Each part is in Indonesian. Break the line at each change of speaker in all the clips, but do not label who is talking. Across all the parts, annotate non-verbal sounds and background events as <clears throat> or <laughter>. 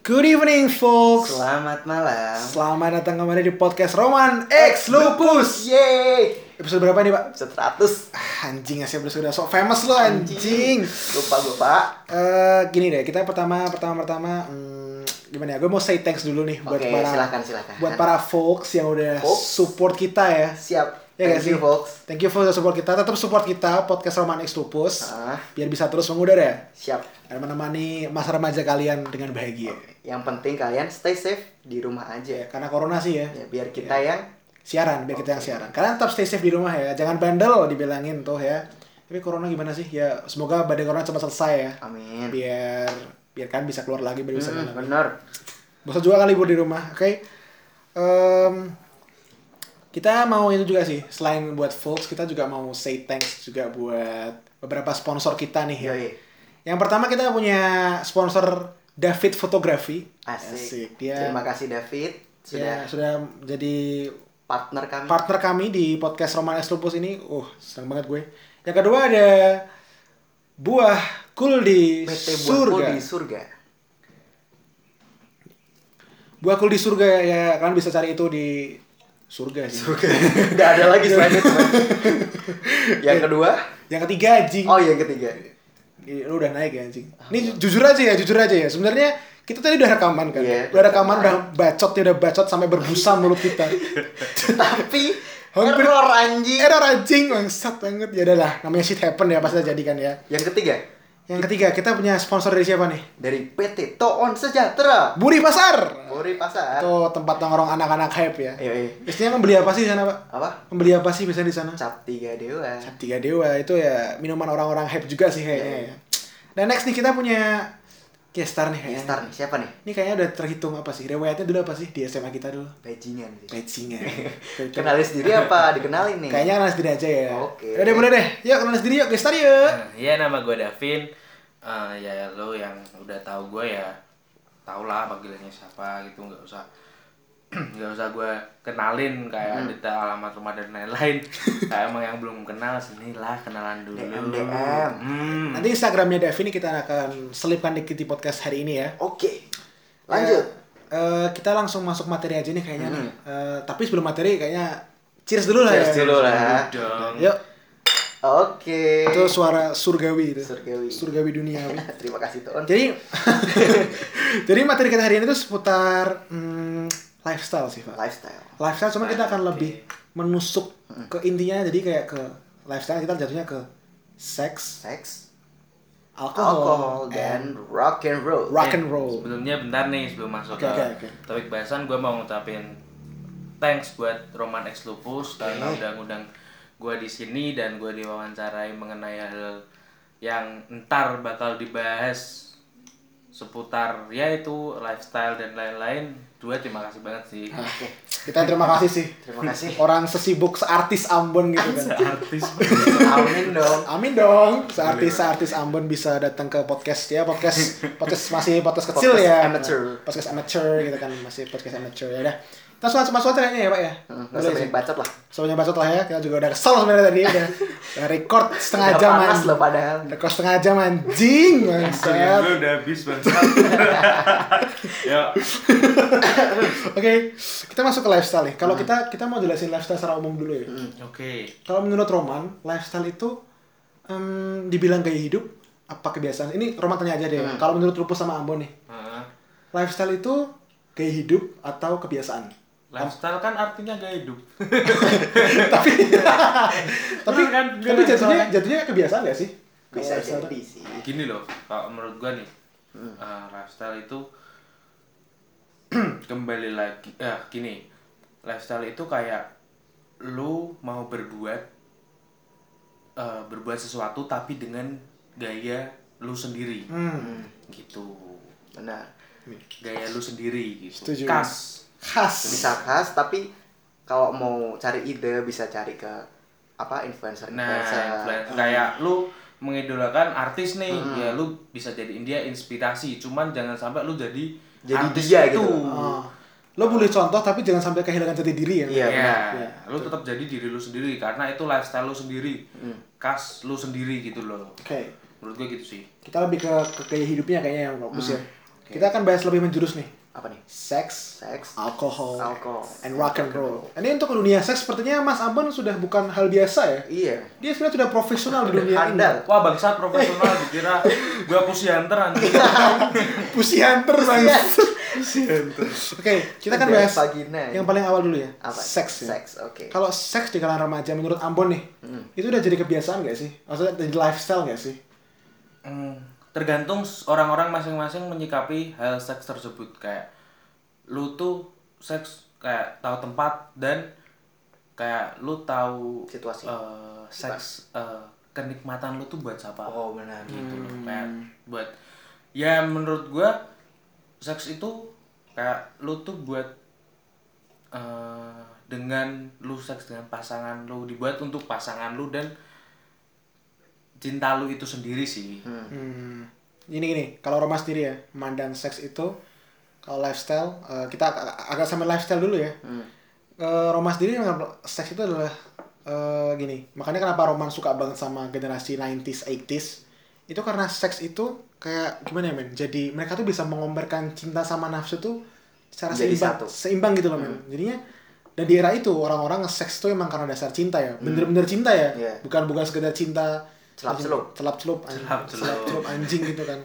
Good evening, folks.
Selamat malam.
Selamat datang kembali di podcast Roman X Lupus.
Yeay.
Episode berapa nih, Pak?
100.
Ah, Anjing, asli episode udah sok famous lo, anjing.
Lupa gue, Pak.
Eh, gini deh, kita pertama, pertama, pertama, hmm, gimana ya? Gue mau say thanks dulu nih buat
Oke,
para,
silakan, silakan.
buat para folks yang udah
Folks?
support kita ya.
Siap.
Ya nggak
Thank
sih?
you, folks.
Thank you for the support kita. Tetap support kita podcast Roman X Lupus
Ah.
biar bisa terus mengudara ya
Siap.
dan menemani masa remaja kalian dengan bahagia.
Yang penting kalian stay safe di rumah aja.
Ya, karena corona sih ya.
Ya, biar kita yang
siaran biar kita yang siaran kalian tetap stay safe di rumah ya jangan bandel dibilangin tuh ya tapi corona gimana sih ya semoga badai corona cepat selesai ya
amin.
biar biar kan bisa keluar lagi biar bisa
Hmm,
jalan.
bener.
bosan juga kali libur di rumah oke Em, kita mau itu juga sih selain buat folks kita juga mau say thanks juga buat beberapa sponsor kita nih ya
Yoi.
yang pertama kita punya sponsor David Fotografi
Asik.
dia
Terima kasih David
sudah
sudah
sudah jadi
partner kami.
partner kami di podcast Roman S. Lupus ini, uh, senang banget gue. Yang kedua ada buah kul di
PT
surga.
Buah di surga.
Buah kul di surga ya, kalian bisa cari itu di surga sih.
Udah ada lagi
<laughs>
selain itu. Pak. yang kedua?
Yang ketiga anjing.
Oh, yang ketiga.
Ih, Lu udah naik ya anjing. Ini ju- jujur aja ya, jujur aja ya. Sebenarnya kita tadi udah rekaman kan.
Iya.
Udah rekaman, udah bacot, ya, udah bacot sampai berbusa mulut kita.
Tapi
Hampir- Er-
error anjing.
Error anjing, bangsat banget. Ya udahlah, namanya shit happen ya pasti jadi kan ya.
Yang ketiga
Yang ketiga, kita punya sponsor dari siapa nih?
dari PT Toon Sejahtera.
Buri Pasar.
Buri Pasar.
Itu tempat nongkrong anak-anak hype ya.
Ayo, ayo.
Biasanya membeli apa sih di sana, Pak?
Apa?
Membeli apa sih biasanya di sana?
Cap tiga dewa.
Cap Tiga Dewa itu ya minuman orang-orang hype juga sih kayaknya ya. Dan next nih kita punya Kestar nih kayaknya.
Star nih, siapa nih?
Ini kayaknya udah terhitung apa sih? Riwayatnya dulu apa sih di SMA kita dulu?
Bajingan sih. <laughs>
Patchingnya.
Kenalin sendiri apa? Dikenalin nih.
Kayaknya kenal sendiri aja ya.
Oke.
Udah boleh deh. Yuk kenal sendiri yuk, Kestar yuk.
Nah, Iya nama gue Davin. Eh, ya lo yang udah tahu gue ya tau lah panggilannya siapa gitu nggak usah <clears throat> nggak usah gue kenalin kayak detail alamat rumah dan lain-lain kayak emang yang belum kenal sinilah kenalan dulu
DM, DM.
Hmm.
Nanti Instagramnya Davin nih kita akan selipkan dikit di podcast hari ini ya.
Oke. Lanjut. Hmm.
Ya, eh, kita langsung masuk materi aja nih kayaknya nih. Eh, tapi sebelum materi kayaknya cheers dulu lah ya.
Cheers dulu lah.
Dong.
Yuk,
Oke. <laughs>
itu suara surgawi itu.
Surgawi.
Surgawi duniawi.
Terima kasih Toon.
jadi <laughs> Jadi materi kita hari ini tuh seputar hmm, lifestyle sih, Pak.
Lifestyle.
Lifestyle cuma kita akan
Oke.
lebih menusuk
Hmm.
ke intinya jadi kayak ke lifestyle kita jatuhnya ke seks,
Seks,
alkohol, Eh.
alkohol, dan rock and roll.
rock and roll.
Sebelumnya Eh, bentar nih sebelum masuk
Oke,
ke
oke, oke.
topik bahasan gue mau ngucapin thanks buat Roman X Lupus karena udah ngundang gue di sini dan gue diwawancarai mengenai hal yang entar bakal dibahas seputar ya itu lifestyle dan lain-lain. Gue terima kasih banget sih.
Oke. Kita terima kasih sih.
Terima kasih.
Orang sesibuk seartis Ambon
<laughs>
gitu kan. <laughs>
Artis.
Amin dong.
Amin dong, seartis-seartis Ambon bisa datang ke podcast ya, podcast
<laughs>
podcast masih podcast kecil
Podcast
ya,
amateur.
podcast amateur gitu kan, masih podcast amateur ya udah. Kita langsung langsung masuk aja kayaknya ya pak ya.
Hmm, Gak usah
Boleh
banyak
sih.
bacot lah.
Soalnya bacot lah ya, kita juga udah kesel sebenarnya tadi
<laughs>
udah, udah record setengah
Udah
jam
panas
anjing.
loh Iya, padahal.
Record setengah jam anjing, bangsat.
Gue udah habis banget.
<laughs>
ya,
Oke, kita masuk ke lifestyle nih.
Hmm.
Kalau kita kita mau jelasin lifestyle secara umum dulu ya.
oke.
Kalau menurut Roman, lifestyle itu em, dibilang gaya hidup apa kebiasaan? Ini Roman tanya aja
Hmm.
deh. Kalau menurut Lupus sama Ambon nih,
Heeh.
lifestyle itu gaya hidup atau kebiasaan?
lifestyle kan artinya gaya hidup.
tapi tapi
Bener kan? Bener
tapi
kan,
jatuhnya
soalnya.
jatuhnya kebiasaan gak sih?
Bisa
Kalau lifestyle
jadi sih.
gini loh kalau menurut gua nih eh, lifestyle itu <clears throat> kembali lagi eh gini lifestyle itu kayak lu mau berbuat eh, berbuat sesuatu tapi dengan gaya lu sendiri
Hmm,
gitu
Benar.
gaya lu sendiri gitu
Setuju.
khas
khas.
Bisa khas tapi kalau mau cari ide bisa cari ke apa influencer
nah
influencer.
influencer. kayak lu mengidolakan artis nih ya lu bisa jadiin dia inspirasi cuman jangan sampai lu jadi
Jadi
artis
dia
itu
gitu.
Oh. Lo boleh contoh tapi jangan sampai kehilangan jati diri ya.
Iya.
ya,
benar.
lu tetap jadi diri lu sendiri karena itu lifestyle lu sendiri,
Hmm.
khas lu sendiri gitu loh.
Oke,
Menurut gue gitu sih.
Hmm.
kita lebih ke, ke gaya hidupnya kayaknya yang bagus ya. Kita akan bahas lebih menjurus nih.
apa nih
Seks,
seks
alkohol,
Alkohol.
and rock and roll. Ini untuk dunia seks sepertinya Mas Abon sudah bukan hal biasa ya.
iya
Dia sebenarnya sudah profesional di dunia ini.
handal
Wah bangsa profesional dikira gua pusianter anjing.
Pussy hunter banget. Oke, kita akan bahas
vagina
yang
ya.
paling awal dulu ya.
apa
Seks ya.
seks oke
Kalau seks di kalangan remaja menurut Ambon nih, itu udah jadi kebiasaan gak sih? Maksudnya jadi lifestyle gak sih?
Hmm, tergantung s- orang-orang masing-masing menyikapi hal seks tersebut kayak lu tuh seks kayak tahu tempat dan kayak lu tahu
Situasi.
eh, seks eh, kenikmatan lu tuh buat siapa
oh benar
Hmm.
gitu loh. kayak buat ya menurut gua seks itu kayak lu tuh buat eh, dengan lu seks dengan pasangan lu dibuat untuk pasangan lu dan cinta lu itu sendiri sih
Hmm. Ini gini, kalau Roma sendiri ya, mandang seks itu kalau lifestyle, eh, kita ag- agak sama lifestyle dulu ya.
Hmm.
Eh, Roma sendiri menganggap seks itu adalah eh, gini. Makanya kenapa Roman suka banget sama generasi 90s, 80s. Itu karena seks itu kayak gimana ya men? Jadi mereka tuh bisa mengombarkan cinta sama nafsu tuh secara
Jadi
seimbang,
satu. Hmm.
seimbang gitu loh men. Jadinya dan di era itu orang-orang seks tuh emang karena dasar cinta ya,
Hmm.
bener-bener cinta ya,
Iya.
bukan bukan sekedar cinta
Celap-celup.
celap celup anjing,
Celap-celup.
celap celup anjing gitu kan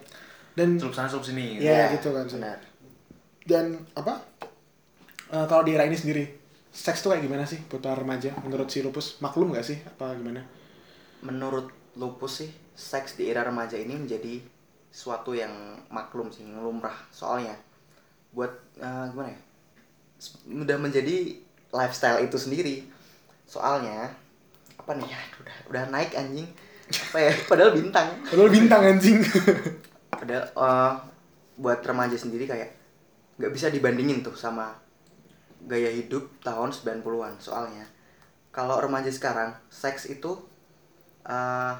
dan
Celup sana celup sini
Iya. Ya, gitu kan.
benar
dan apa Eh kalau di era ini sendiri seks tuh kayak gimana sih buat orang remaja menurut si lupus maklum gak sih apa gimana
menurut lupus sih seks di era remaja ini menjadi suatu yang maklum sih yang lumrah soalnya buat eh, gimana ya s- udah menjadi lifestyle itu sendiri soalnya apa nih ya udah udah naik anjing apa ya padahal bintang
Padahal bintang anjing <laughs>
padahal eh, buat remaja sendiri kayak nggak bisa dibandingin tuh sama gaya hidup tahun 90-an soalnya kalau remaja sekarang seks itu eh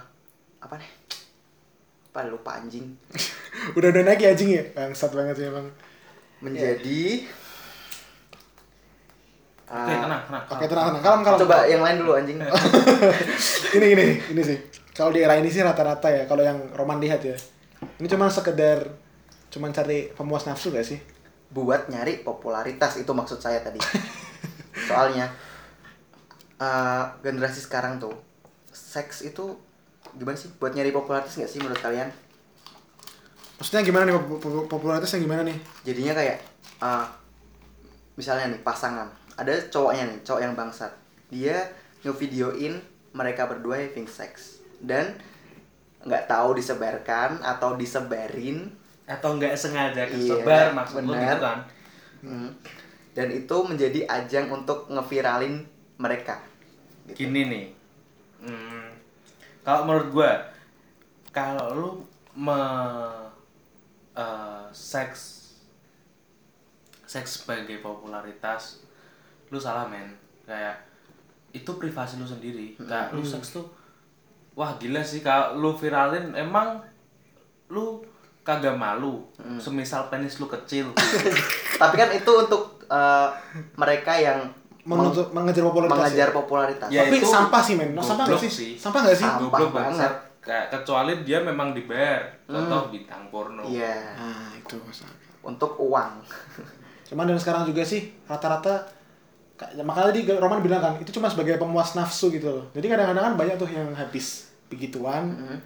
apa nih pada lupa anjing
udah udah naik ya anjing ya bangsat banget sih emang
menjadi
oke
eh,
tenang tenang
oke tenang tenang kalem kalem
coba yang lain dulu anjing
ini ini ini sih kalau di era ini sih rata-rata ya kalau yang roman lihat ya ini cuma sekedar cuman cari pemuas nafsu gak sih
buat nyari popularitas itu maksud saya tadi soalnya eh, generasi sekarang tuh seks itu gimana sih buat nyari popularitas nggak sih menurut kalian
maksudnya gimana nih pop- pop- popularitasnya gimana nih
jadinya kayak eh, misalnya nih pasangan ada cowoknya nih cowok yang bangsat dia ngevideoin mereka berdua having sex dan nggak tahu disebarkan atau disebarin
atau nggak sengaja
Iya,
kesebar maksud lu
benar.
gitu kan
Hmm. Dan itu menjadi ajang untuk ngeviralin mereka. Gitu.
gini nih hmm, kalau menurut gua kalau lu me eh, seks seks sebagai popularitas lu salah men kayak itu privasi lu sendiri kayak lu seks tuh wah gila sih kalau lu viralin emang lu kagak malu
Mm.
semisal penis lu kecil
Tapi kan itu untuk eh, mereka yang
Menuju- mengejar
meng-
popularitas ya?
mengejar popularitas.
Ya,
tapi
itu
sampah sih men, no, sampah gak
goblok
sih?
sih.
Sampah gak sih?
<laughs> Sampah
goblok
banget. Mm.
banget kayak kecuali dia memang dibayar contoh bintang porno
Iya,
Nah itu sampah.
untuk uang.
Cuman dan sekarang juga sih rata-rata ka- ya, makanya tadi Roman bilang kan itu cuma sebagai pemuas nafsu gitu loh. Jadi kadang-kadang kan banyak tuh yang habis begituan
Hmm.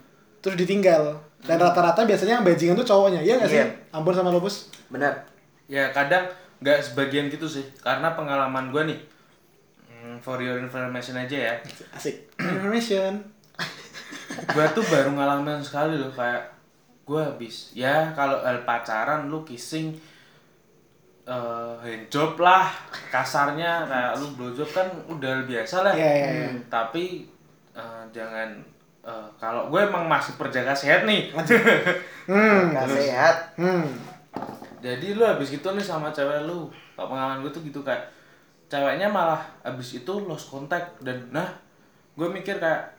terus ditinggal dan rata-rata biasanya yang bajingan tuh cowoknya iya gak sih?
Iya.
Ampun sama lupus
Bener.
ya kadang nggak sebagian gitu sih karena pengalaman gue nih hmm, for your information aja ya
asik information
gue tuh baru ngalamin sekali loh kayak gue habis ya kalau hal pacaran lu kissing eh handjob lah kasarnya kayak lu blowjob kan udah hal biasa lah
Iya, iya, iya.
Hmm, tapi eh, jangan eh, kalau gue emang masih perjaga sehat nih <laughs>
hmm
Gak sehat.
hmm
jadi lu habis gitu nih sama cewek lu kalau pengalaman gue tuh gitu kayak ceweknya malah habis itu lost contact dan nah gue mikir kayak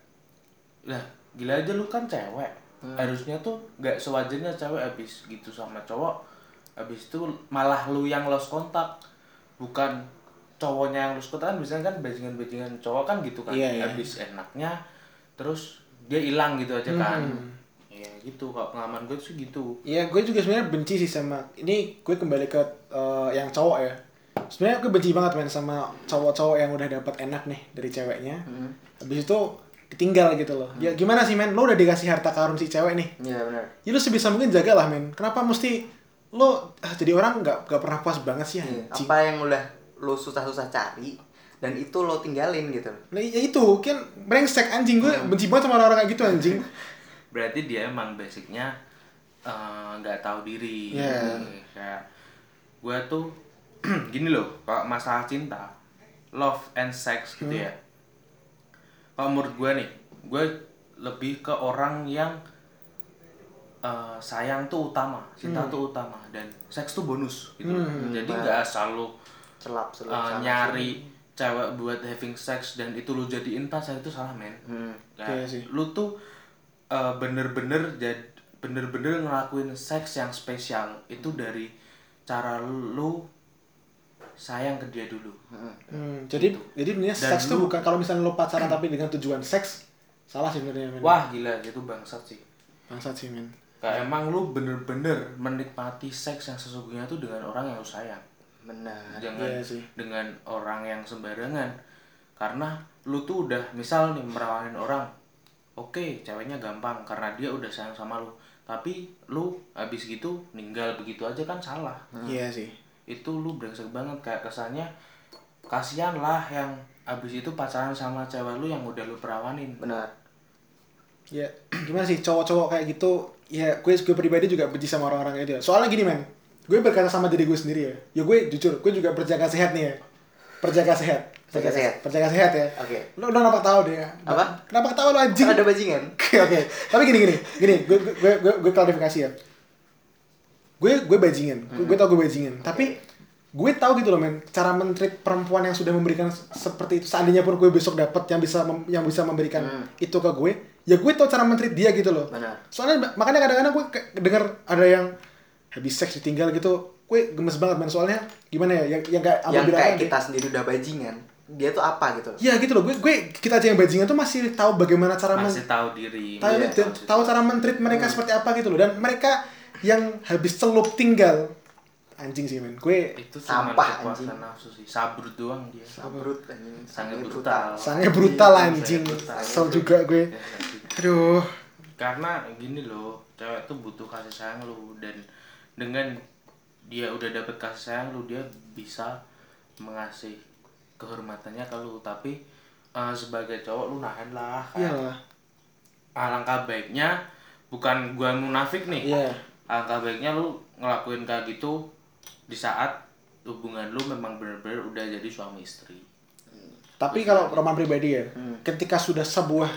lah gila aja lu kan cewek harusnya tuh nggak sewajarnya cewek habis gitu sama cowok habis itu malah lu yang lost contact bukan cowoknya yang lost contact kan biasanya kan bajingan-bajingan cowok kan gitu kan
Iya, iya.
habis enaknya terus dia hilang gitu aja kan ya gitu kalau pengalaman gue tuh gitu
Iya, gue juga sebenarnya benci sih sama ini. Gue kembali ke eh, yang cowok ya. Sebenarnya gue benci banget men sama cowok-cowok yang udah dapat enak nih dari ceweknya. Habis itu ditinggal gitu loh. Ya gimana sih men? Lo udah dikasih harta karun si cewek nih.
Iya benar.
Ya lo sebisa mungkin jagalah men. Kenapa mesti lo ah, jadi orang nggak nggak pernah puas banget sih
Iya,
anjing.
Apa yang udah lo susah-susah cari dan itu lo tinggalin gitu.
Nah, ya itu kan brengsek anjing gue
Hmm.
benci banget sama orang-orang kayak gitu
<laughs>
anjing.
berarti dia emang basicnya eh, nggak tahu diri
Iya.
kayak gue tuh <clears throat> gini loh kalau masalah cinta love and sex gitu ya kalau menurut gue nih gue lebih ke orang yang eh, sayang tuh utama cinta tuh utama dan seks tuh bonus gitu loh. jadi nggak asal lu
Celap celap.
eh,
celap,
nyari cewek buat having sex dan itu lu jadiin pacar itu salah men
celap. Hmm.
Nah,
Iya sih.
lu tuh uh, bener-bener jadi bener-bener ngelakuin seks yang spesial itu
Hmm.
dari cara lu sayang ke dia dulu.
Hmm, jadi jadi sebenarnya
Dan
seks tuh
lu-
bukan kalau misalnya lo pacaran tapi dengan tujuan seks salah sih sebenarnya men.
Wah gila itu bangsat sih.
Bangsat sih men.
Kayak emang lu bener-bener menikmati seks yang sesungguhnya tuh dengan orang yang lu sayang.
Benar.
Jangan
Iya sih.
dengan orang yang sembarangan. Karena lu tuh udah misal nih merawanin orang. Oke, ceweknya gampang karena dia udah sayang sama lu. Tapi lu habis gitu ninggal begitu aja kan salah.
Iya sih.
itu lu brengsek banget kayak kesannya kasihan lah yang abis itu pacaran sama cewek lu yang udah lu perawanin
Benar.
Ya, gimana sih cowok-cowok kayak gitu? Ya, gue gue pribadi juga benci sama orang-orang kayak gitu. Soalnya gini, men. Gue berkata sama diri gue sendiri ya. Ya gue jujur, gue juga berjaga sehat nih ya. Berjaga sehat.
Berjaga sehat.
Berjaga sehat ya.
Oke.
Lo udah kenapa ketawa deh ya?
Apa?
Kenapa ketawa lo anjing?
Kan Ada bajingan.
Oke, oke. Tapi gini gini, gini, gue gue gue, gue, gue klarifikasi ya. Gue gue bajingan, gue,
Mm-hmm.
gue tau gue bajingan. Tapi gue tahu gitu loh men, cara mentreat perempuan yang sudah memberikan se- seperti itu. Seandainya pun gue besok dapat yang bisa mem- yang bisa memberikan itu ke gue, ya gue tahu cara mentreat dia gitu loh.
Mm. Benar.
Soalnya ba- makanya kadang-kadang gue kayak denger ada yang habis seks ditinggal gitu, gue gemes banget men. Soalnya gimana ya, yang yang kayak abang
yang
bilang
kayak
tadi.
kita sendiri udah bajingan. Dia tuh apa gitu?
Ya gitu loh, gue, gue kita aja yang bajingan tuh masih tahu bagaimana cara men-
masih tahu diri iya,
tahu
masih
dia-
diri.
tahu cara mentreat mereka
Hmm.
seperti apa gitu loh dan mereka yang habis celup tinggal anjing sih men gue
itu cuma
Sampah,
kepuasan
anjing.
nafsu sih sabrut doang dia
Sabrut anjing.
Sangat
Sangat
brutal.
brutal.
sange brutal
Iya,
anjing
sange brutal. gitu.
kesel juga
Ya,
gue aduh
karena gini loh cewek tuh butuh kasih sayang lu dan dengan dia udah dapet kasih sayang lu dia bisa mengasih kehormatannya ke lu tapi eh, sebagai cowok lu nahan lah kayak
iyalah
alangkah baiknya bukan gua munafik nih
Iya.
alangkah baiknya lu ngelakuin kayak gitu di saat hubungan lu memang bener-bener udah jadi suami istri
tapi kalau roman pribadi ya
Hmm.
ketika sudah sebuah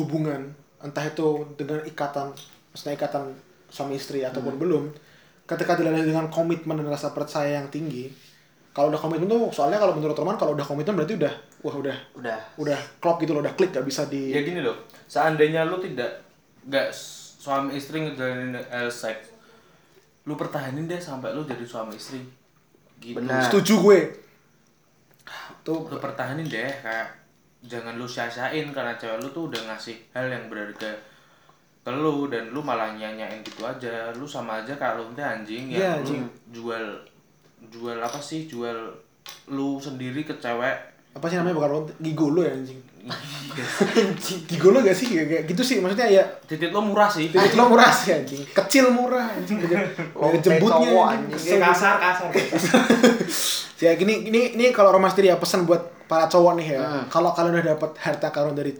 hubungan entah itu dengan ikatan maksudnya ikatan suami istri
Hmm.
ataupun belum ketika dilandasi dengan komitmen dan rasa percaya yang tinggi kalau udah komitmen tuh soalnya kalau menurut Roman kalau udah komitmen berarti udah wah udah
Udah.
udah klop gitu loh udah klik gak bisa di
ya gini loh seandainya lu tidak nggak s- suami istri ngejalanin eh, seks lu pertahanin deh sampai lu jadi suami istri gitu
Benar.
setuju gue tuh
lu pertahanin deh kayak jangan lu sia-siain karena cewek lu tuh udah ngasih hal yang berharga ke lu dan lu malah nyanyain gitu aja lu sama aja kayak lu nanti anjing ya
Iya,
lu
anjing.
jual jual apa sih jual lu sendiri ke
<laughs>
cewek
apa sih namanya bukan lonte- gigolo ya anjing <laughs> gigolo gak sih Kayak- kayak gitu sih maksudnya ya
titik lu murah sih
titik lo murah sih anjing kecil murah anjing
Lonte
Gak jembutnya
cowok, anjing.
anjing Kesel.
kasar kasar
ya gini ini ini kalau romas diri ya pesan buat para cowok nih ya kalau kalian udah dapat harta karun dari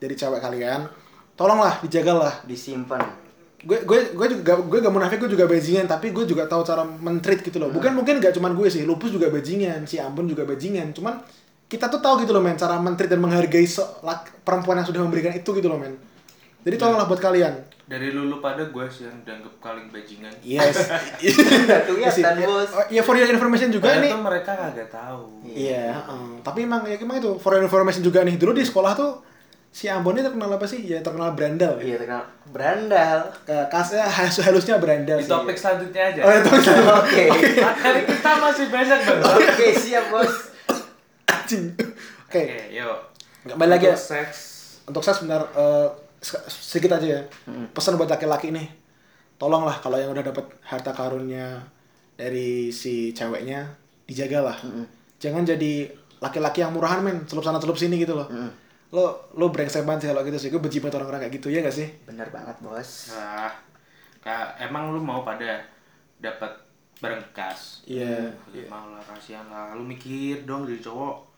dari cewek kalian tolonglah dijagalah
Disimpan.
gue gue gue juga gue gak munafik gue juga bajingan tapi gue juga tahu cara mentreat gitu loh bukan mungkin gak cuman gue sih lupus juga bajingan si ambon juga bajingan cuman kita tuh tahu gitu loh men cara mentreat dan menghargai se- lak- perempuan yang sudah memberikan itu gitu loh men jadi tolonglah buat kalian
dari lulu pada gue sih yang dianggap paling bajingan
<laughs> yes
Iya,
Gak kelihatan bos.
ya for your information juga
Padahal
nih
tuh mereka kagak tahu
iya heeh. tapi emang ya emang itu for your information juga nih dulu di sekolah tuh si ambon ini terkenal apa sih ya terkenal berandal ya
Iya terkenal berandal.
<laughs> Ke- kasnya halus halusnya berandal
di
sih.
topik selanjutnya aja
oh, ya, topik selanjutnya.
Oke.
kali kita masih banyak banget
Oke siap bos.
<laughs> Anjing. oke
oke yuk
Kembali lagi ya.
Untuk seks
untuk saya sebenarnya eh, se- sedikit aja ya pesan buat laki-laki nih tolonglah kalau yang udah dapat harta karunnya dari si ceweknya dijagalah jangan jadi laki-laki yang murahan men celup sana celup sini gitu loh lo lo brengsek banget sih kalau gitu sih gue benci banget orang-orang kayak gitu ya gak sih
bener banget bos
Nah, ka- emang lu mau pada dapat barang bekas?
Iya.
Lu Mau lah kasihan lah. Lu mikir dong jadi cowok.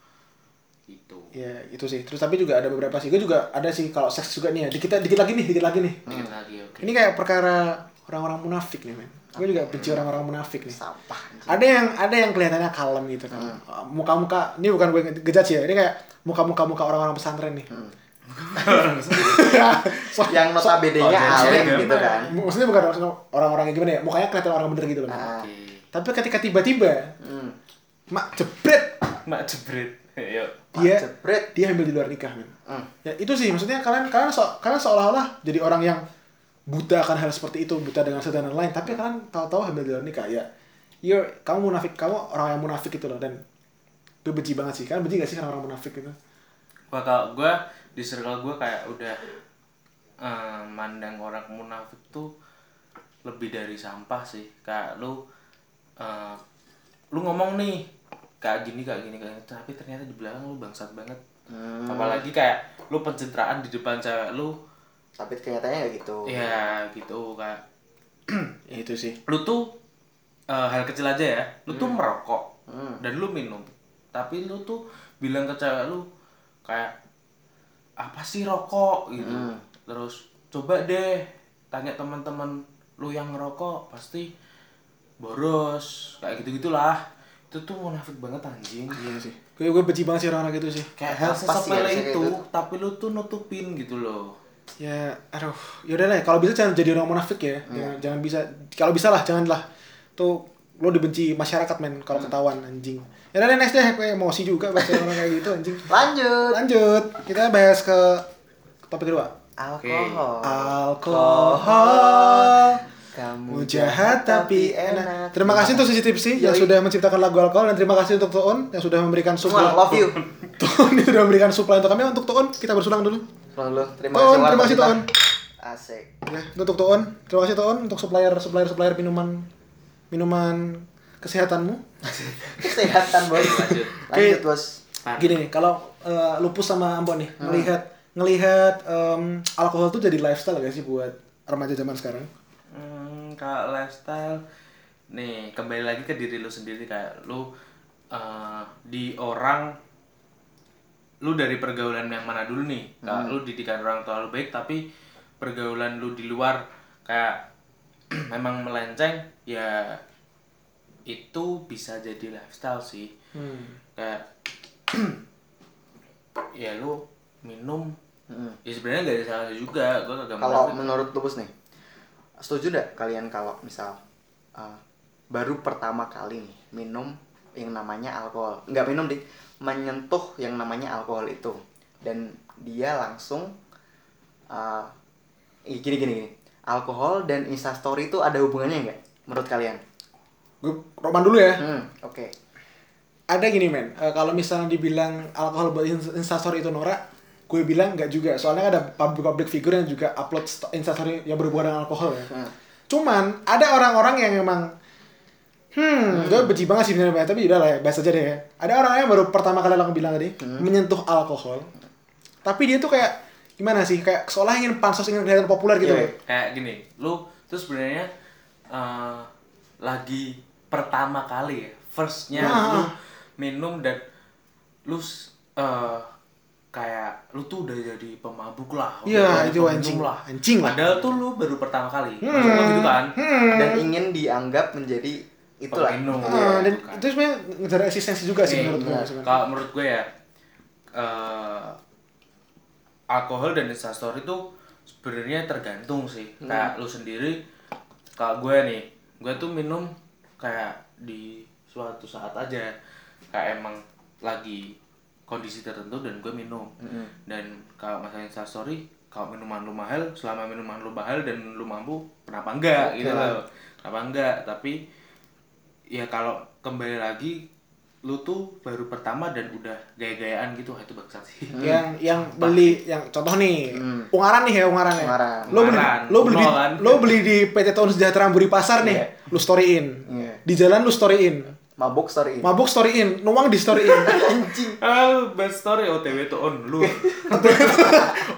Gitu.
ya itu sih terus tapi juga ada beberapa sih gue juga ada sih kalau seks juga nih ya dikit dikit lagi nih dikit lagi nih
Dikit lagi oke.
ini kayak perkara orang-orang munafik nih men gue juga benci orang-orang munafik nih
sampah anjing.
ada yang ada yang kelihatannya kalem gitu kan
Hmm.
muka-muka ini bukan gue ngejudge ya ini kayak muka-muka muka orang-orang pesantren nih <laughs> So-
Hmm. yang notabene-nya
Oh, jadi
alim
gambar.
gitu kan
maksudnya bukan orang-orang yang gimana ya mukanya kelihatan orang bener gitu loh men.
Nah. hmm,
Oke.
tapi ketika tiba-tiba mak jebret
<laughs> Mak jebret. Yuk.
dia
jebret.
dia hamil di luar nikah men
Hmm.
ya itu sih maksudnya kalian kalian so- kalian seolah-olah jadi orang yang buta akan hal seperti itu buta dengan satu dan lain tapi kalian tahu-tahu hamil di luar nikah ya you're kamu munafik kamu orang yang munafik gitu loh dan gue benci banget sih kalian benci gak sih sama orang munafik gitu
Gua kalau gue di circle gue kayak udah eh, mandang orang munafik tuh lebih dari sampah sih. Kayak lu eh, lu ngomong nih kayak gini kayak gini kayak gini tapi ternyata di belakang lu bangsat banget. Apalagi kayak lu pencitraan di depan cewek lu
tapi kenyataannya nggak gitu
ya gitu kayak
ya, itu sih
lu tuh eh, hal kecil aja ya. Lu
Hmm.
tuh merokok dan lu minum. Tapi lu tuh bilang ke cewek lu kayak apa sih rokok gitu
Hmm.
terus coba deh tanya teman-teman lu yang ngerokok pasti boros kayak gitu gitulah itu tuh munafik banget anjing
iya sih gue gue benci banget sih orang-orang gitu sih
kayak hal
Apa sih harusnya kayak
sesepele itu
gitu?
tapi lu tuh nutupin gitu loh
ya aduh yaudah lah kalau bisa jangan jadi orang munafik ya jangan, jangan bisa kalau bisa lah jangan lah tuh lo dibenci masyarakat men kalau ketahuan anjing ya udah deh, next deh gue emosi juga baca orang kayak gitu anjing
lanjut
lanjut kita bahas ke topik kedua
alkohol
alkohol
kamu
jahat tapi enak terima kasih untuk Sisi Tipsi yang sudah menciptakan lagu alkohol dan terima kasih untuk Tuun yang sudah memberikan supply
Semua, love you.
Tuun yang sudah memberikan supply untuk kami untuk Tuun kita bersulang dulu
Lalu, terima
Tuan,
kasih warna
terima kasih,
kita.
Tuan.
asik
Ya, untuk Toon. Terima kasih Toon untuk supplier supplier supplier minuman minuman kesehatanmu.
kesehatan bos
Lanjut.
lanjut bos
Gini nih, kalau eh, lupus sama ambon nih,
Ah.
melihat ngelihat em, alkohol tuh jadi lifestyle gak sih buat remaja zaman sekarang?
Hmm, kalau lifestyle nih kembali lagi ke diri lu sendiri kayak lu eh, di orang lu dari pergaulan yang mana dulu nih? Kayak lu didikan orang tua lu baik tapi pergaulan lu di luar kayak <clears throat> memang melenceng ya itu bisa jadi lifestyle sih. Kayak <clears throat> ya lu minum
Mm.
ya sebenarnya gak ada salahnya juga gue kagak
kalau
merasa-
menurut lupus nih setuju nggak kalian kalau misal uh, baru pertama kali nih minum yang namanya alkohol nggak minum deh menyentuh yang namanya alkohol itu dan dia langsung uh, ih, gini gini gini alkohol dan instastory itu ada hubungannya nggak menurut kalian
Gue Roman dulu ya.
hmm oke
Ada gini men, eh, kalau misalnya dibilang alkohol buat ins- instastory itu norak, gue bilang nggak juga. Soalnya ada public public figure yang juga upload sto- instastory yang berhubungan dengan alkohol ya.
Hmm.
Cuman ada orang-orang yang memang Hmm, gue benci banget sih sebenarnya, Bay. tapi udah lah ya, bahas aja deh ya. Ada orang yang baru pertama kali lo bilang tadi, menyentuh alkohol. Tapi dia tuh kayak, gimana sih, kayak seolah ingin pansos, ingin kelihatan populer gitu
Iya,
loh.
kayak gini lu tuh sebenarnya eh, lagi pertama kali ya firstnya
Nah.
lu minum dan lu s- eh, kayak lu tuh udah jadi pemabuk lah udah
Iya,
jadi
itu
peminum
anjing. Hmm. Anjing lah.
padahal tuh lu baru pertama kali Maksud lu gitu kan
Hmm.
dan ingin dianggap menjadi itulah
Peminum. Kan.
Ah, dan
Bukan.
itu sebenarnya ngejar eksistensi juga sih
Nih,
menurut gue.
nah,
sebenarnya.
Kalau menurut gue ya, eh, alkohol dan instastory itu sebenarnya tergantung sih. Kayak lu sendiri, kalau gue nih, gue tuh minum kayak di suatu saat aja, kayak emang lagi kondisi tertentu dan gue minum. Dan kalau masalah instastory, kalau minuman lu mahal, selama minuman lu mahal dan lu mampu, kenapa enggak gitu loh. Kenapa enggak? Tapi ya kalau kembali lagi lu tuh baru pertama dan udah gaya-gayaan gitu wah itu bangsat sih
Hmm.
<laughs>
yang yang beli yang contoh nih ungaran nih ya ungaran ya
Ungaran.
lo beli
Ungaran.
lo beli di-
Nol kan.
lo beli di PT Tahun Sejahtera Buri Pasar nih lu storyin
Iya.
di jalan lu storyin
Mabok story ini.
mabuk storyin nuang di storyin
<laughs>
<laughs>
Anjing.
ah best story OTW to on lu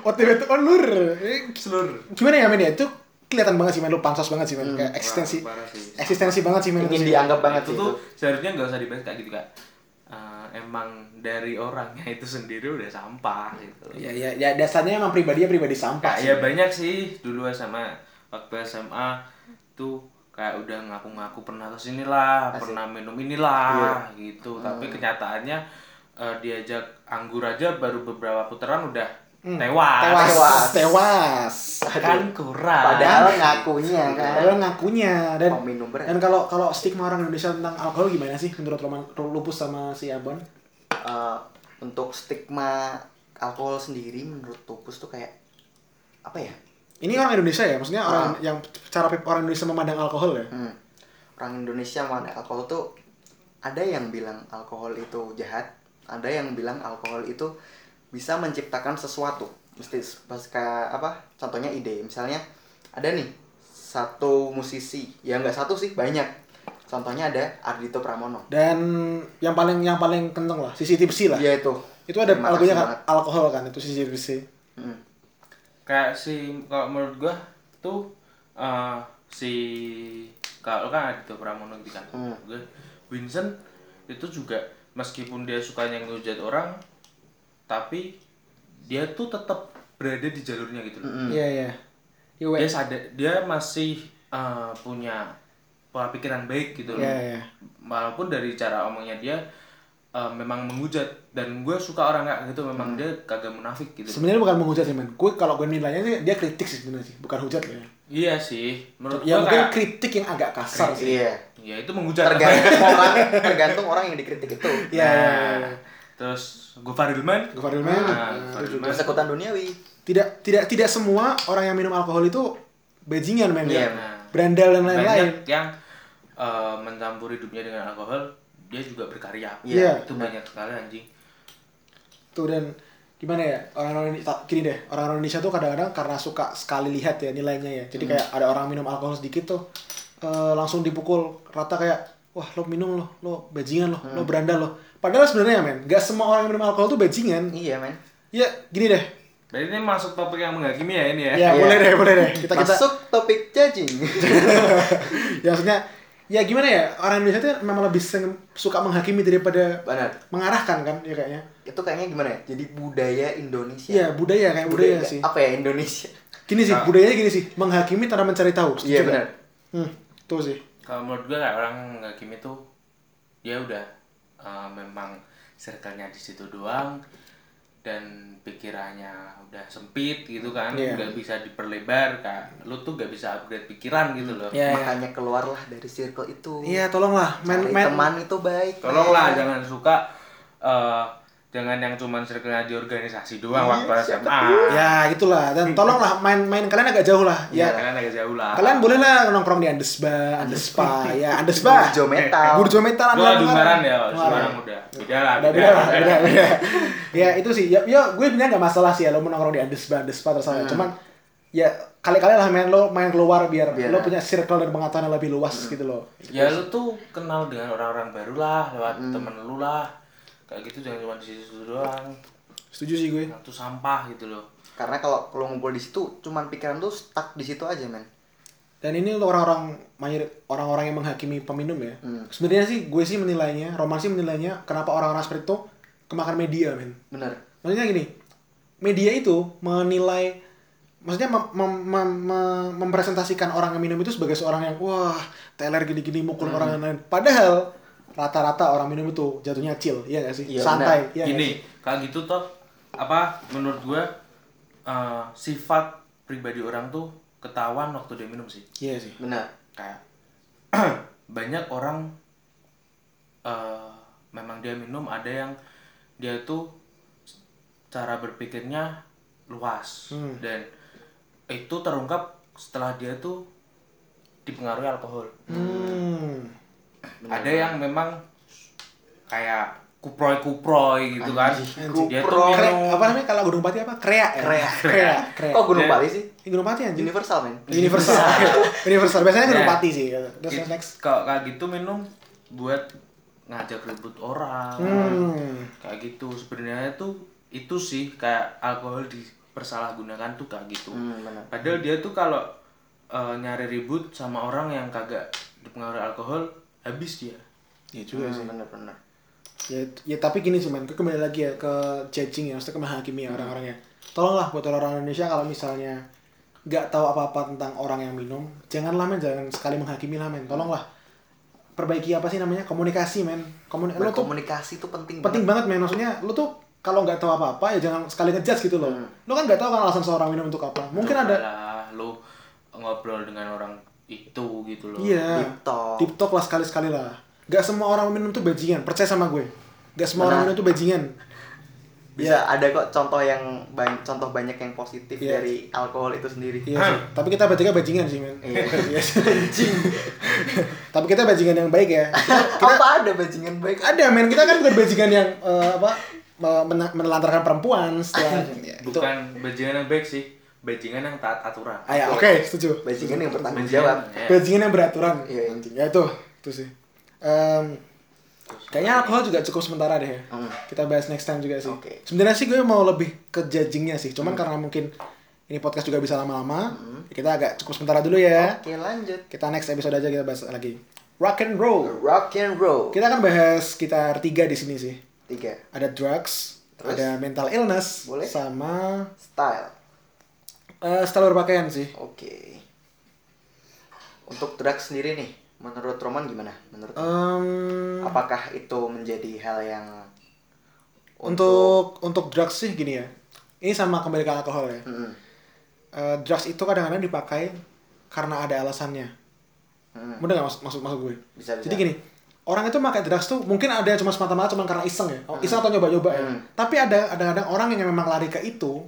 otw itu onur Eh,
seluruh
gimana ya men ya itu kelihatan banget sih men lu pansos banget sih men kayak eksistensi
parah, parah sih.
eksistensi banget sih men itu
Hmm. Ingin
sih.
dianggap banget
itu
sih
tuh
itu.
seharusnya nggak usah dibahas kayak gitu kak Eh, emang dari orangnya itu sendiri udah sampah gitu
Iya,
ya ya ya dasarnya emang pribadinya pribadi sampah
Kak,
sih.
ya banyak sih dulu SMA waktu SMA tuh kayak udah ngaku-ngaku pernah kesini lah, pernah minum inilah
Iya. Hmm.
gitu. Tapi kenyataannya eh, diajak anggur aja baru beberapa putaran udah tewas.
tewas
Hmm. Tewas.
tewas
Kan kurang.
Padahal ngakunya kan.
Padahal ngakunya dan
Peminum berat.
dan kalau kalau stigma orang Indonesia tentang alkohol gimana sih menurut Roman Lupus sama si Abon?
Eh, untuk stigma alkohol sendiri menurut Topus tuh kayak apa ya?
Ini orang Indonesia ya, maksudnya
Ah.
orang yang cara pe- orang Indonesia memandang alkohol ya.
Hmm. Orang Indonesia mana alkohol tuh ada yang bilang alkohol itu jahat, ada yang bilang alkohol itu bisa menciptakan sesuatu. Mesti pasca apa? Contohnya ide. Misalnya ada nih satu musisi, ya nggak satu sih banyak. Contohnya ada Ardito Pramono.
Dan yang paling yang paling kenteng lah, sisi tipsi lah.
Iya itu.
Itu ada
Terima kasih
lagunya kan
banget.
alkohol kan itu sisi tipsi.
Hmm.
kayak si kalau menurut gua tuh eh, si kalau kan Adito Pramono gitu kan
Hmm.
Gua- Vincent itu juga meskipun dia sukanya ngehujat orang tapi dia tuh tetap berada di jalurnya gitu loh
Mm-mm.
Iya iya. You
dia
wait.
sadar dia masih eh, punya pola pikiran baik gitu loh
Iya iya.
walaupun dari cara omongnya dia eh, memang menghujat dan gue suka orang kayak gitu memang
Hmm.
dia kagak munafik gitu
Sebenarnya bukan menghujat sih men. Gue kalau gue nilainya sih dia kritik sih sebenarnya sih, bukan hujat ya.
iya sih menurut
Ya
gue
mungkin
kayak
kritik yang agak kasar sih.
Iya.
ya itu menghujat
<laughs>
Tergantung orang, tergantung orang yang dikritik itu.
Iya iya. iya.
Terus Gofar Hilman
Gofar Hilman.
Nah,
Nah,
Gofar
itu
Hilman.
Persekutan duniawi.
tidak tidak tidak semua orang yang minum alkohol itu bajingan men ya.
Iya.
Nah,
Berandal dan lain-lain.
banyak yang eh, mencampuri hidupnya dengan alkohol dia juga berkarya
Iya.
itu banyak sekali anjing
Tuh dan gimana ya orang-orang Indonesia gini deh orang-orang Indonesia tuh kadang-kadang karena suka sekali lihat ya nilainya ya. Jadi
Hmm.
kayak ada orang minum alkohol sedikit tuh eh, langsung dipukul rata kayak wah lo minum lo lo bajingan lo
Hmm.
lo berandal lo. Padahal sebenarnya men gak semua orang yang minum alkohol tuh bajingan.
Iya men.
Ya gini deh.
Berarti ini masuk topik yang menghakimi ya ini ya
Ya
Iya.
boleh deh boleh deh kita kita
Masuk topik judging.
<laughs>
<laughs>
ya maksudnya ya gimana ya orang Indonesia tuh memang lebih seng- suka menghakimi daripada
Benar.
mengarahkan kan ya kayaknya
Itu kayaknya gimana ya? Jadi budaya Indonesia.
Iya budaya kayak budaya, sih
Apa ya Indonesia?
gini sih budayanya gini sih menghakimi tanpa mencari tahu setuju
Ah. Iya
nggak?
benar.
hmm, tuh sih
Kalau menurut gue kayak orang menghakimi tuh Dia udah eh, memang circle-nya di situ doang dan pikirannya udah sempit gitu kan
Iya.
nggak bisa diperlebar kan lu tuh nggak bisa upgrade pikiran gitu loh
Makanya keluarlah dari circle itu.
iya tolonglah main
Cari
main
teman itu baik.
tolonglah
men.
jangan suka eh, jangan yang cuman circle di organisasi doang waktu SMA
ya gitulah dan
Iya.
tolonglah main main kalian agak jauh lah ya
ya kalian agak jauh lah
kalian bolehlah nongkrong di andesba
<laughs>
andespa ya andesba
Burjo metal.
burjo metal
Gua
Ungaran.
Ungaran ya kalau
Ungaran.
sekarang udah beda lah
Udah, beda, lah, beda, beda. ya itu sih ya, ya gue sebenarnya nggak masalah sih ya lo mau nongkrong di andespa andespa terus apa. cuman ya kali-kali lah main lo main keluar biar
Biar.
lo punya circle dan pengetahuan yang lebih luas gitu loh
ya lu tuh kenal dengan orang-orang baru lah lewat temen lu lah kayak gitu jangan cuma di situ doang
setuju sih gue
itu sampah gitu loh
Karena kalau kalau ngumpul di situ, cuman pikiran tuh stuck di situ aja men.
dan ini untuk orang-orang mayor orang-orang yang menghakimi peminum ya sebenarnya sih gue sih menilainya Roman sih menilainya kenapa orang-orang seperti itu kemakan media men
Bener.
maksudnya gini media itu menilai maksudnya mem- mem- mem- mem- mempresentasikan orang yang minum itu sebagai seorang yang wah teler gini-gini mukul orang yang lain padahal rata-rata orang minum itu jatuhnya chill ya gak sih
Iya,
santai ya
gini kalau gitu toh apa menurut gua eh, sifat pribadi orang tuh ketahuan waktu dia minum sih
iya sih
Bener.
kayak <clears throat> banyak orang eh, memang dia minum ada yang dia tuh cara berpikirnya luas
Hmm.
dan itu terungkap setelah dia tuh dipengaruhi alkohol
hmm.
ada yang memang kayak kuproy-kuproy gitu kan.
Anjing, kuproy.
Dia tuh
Kre-
minum
apa
<laughs>
namanya kalau Gunung Pati apa? Krea ya?
Krea.
Krea. Krea.
Kok Gunung
Ya.
Pali sih?
Ini Gunung Pati anjing.
Universal men.
Universal. <laughs> Universal. Biasanya Gunung
Ya.
Pati sih. gitu. Terus
gitu.
next.
Kalau kayak gitu minum buat ngajak ribut orang.
Hmm.
Kayak gitu sebenarnya tuh itu sih kayak alkohol dipersalahgunakan tuh kayak gitu.
Hmm, benar.
Padahal dia tuh kalau eh, nyari ribut sama orang yang kagak dipengaruhi alkohol habis dia.
Ya
Juga sih benar-benar.
Ya, ya tapi gini sih men, Ke- kembali lagi ya ke judging ya, maksudnya ke menghakimi ya orang-orangnya. Tolonglah buat orang-orang Indonesia kalau misalnya nggak tahu apa-apa tentang orang yang minum, janganlah men, jangan sekali menghakimi lah men. Tolonglah perbaiki apa sih namanya komunikasi men. Komunikasi lu tuh
Komunikasi itu penting.
penting banget men, maksudnya lu tuh kalau nggak tahu apa-apa ya jangan sekali ngejudge gitu loh. Lu kan nggak tahu kan alasan seorang minum untuk apa. Mungkin ada
Cobalah lu ngobrol dengan orang itu gitu loh.
iya
Deep talk.
deep talk lah sekali-sekali lah. Nggak semua orang minum tuh bajingan, percaya sama gue. Nggak semua orang
Benar.
minum tuh bajingan.
Bisa Ya, ada kok contoh yang banyak contoh banyak yang positif
Iya.
dari alkohol itu sendiri.
Iya sih. Tapi kita bertiga bajingan sih, men.
Iya.
<laughs> Iya sih. Tapi kita bajingan yang baik ya.
Apa ada bajingan baik?
Ada, men. Kita kan bukan bajingan yang eh, apa me- mena- menelantarkan perempuan setelah
Ah,
ya, itu.
Bukan bajingan yang baik sih, bajingan yang taat aturan.
Ah, ya, oke, setuju.
Iya. Bajingan yang bertanggung
Bajingan,
jawab.
ya.
Bajingan yang beraturan.
Iya, iya.
anjing. Ya itu, itu sih. Em, kayaknya alkohol juga cukup sementara deh. ya.
Hmm.
Kita bahas next time juga sih.
Oke. Hmm.
Sebenarnya sih gue mau lebih ke judgingnya sih. Cuman karena mungkin ini podcast juga bisa lama-lama, kita agak cukup sementara dulu ya.
Oke, lanjut.
Kita next episode aja kita bahas lagi. Rock and roll.
Rock and roll.
Kita akan bahas sekitar tiga di sini sih.
Tiga.
Ada drugs,
Terus?
ada mental illness,
Boleh.
sama
Style.
eh style berpakaian sih.
Oke. Untuk drugs sendiri nih, menurut Roman gimana? Menurut
Em,
apakah itu menjadi hal yang
untuk untuk drugs sih gini ya. Ini sama kembali ke alkohol ya.
Mm-mm.
Eh, drugs itu kadang-kadang dipakai karena ada alasannya.
Mm-mm.
Mudah nggak masuk masuk masuk gue?
Hmm. Bisa, bisa.
Jadi gini, orang itu pakai drugs tuh mungkin ada cuma semata-mata cuma karena iseng ya, Oh, iseng atau nyoba-nyoba ya.
Hmm.
Tapi ada kadang-kadang orang yang memang lari ke itu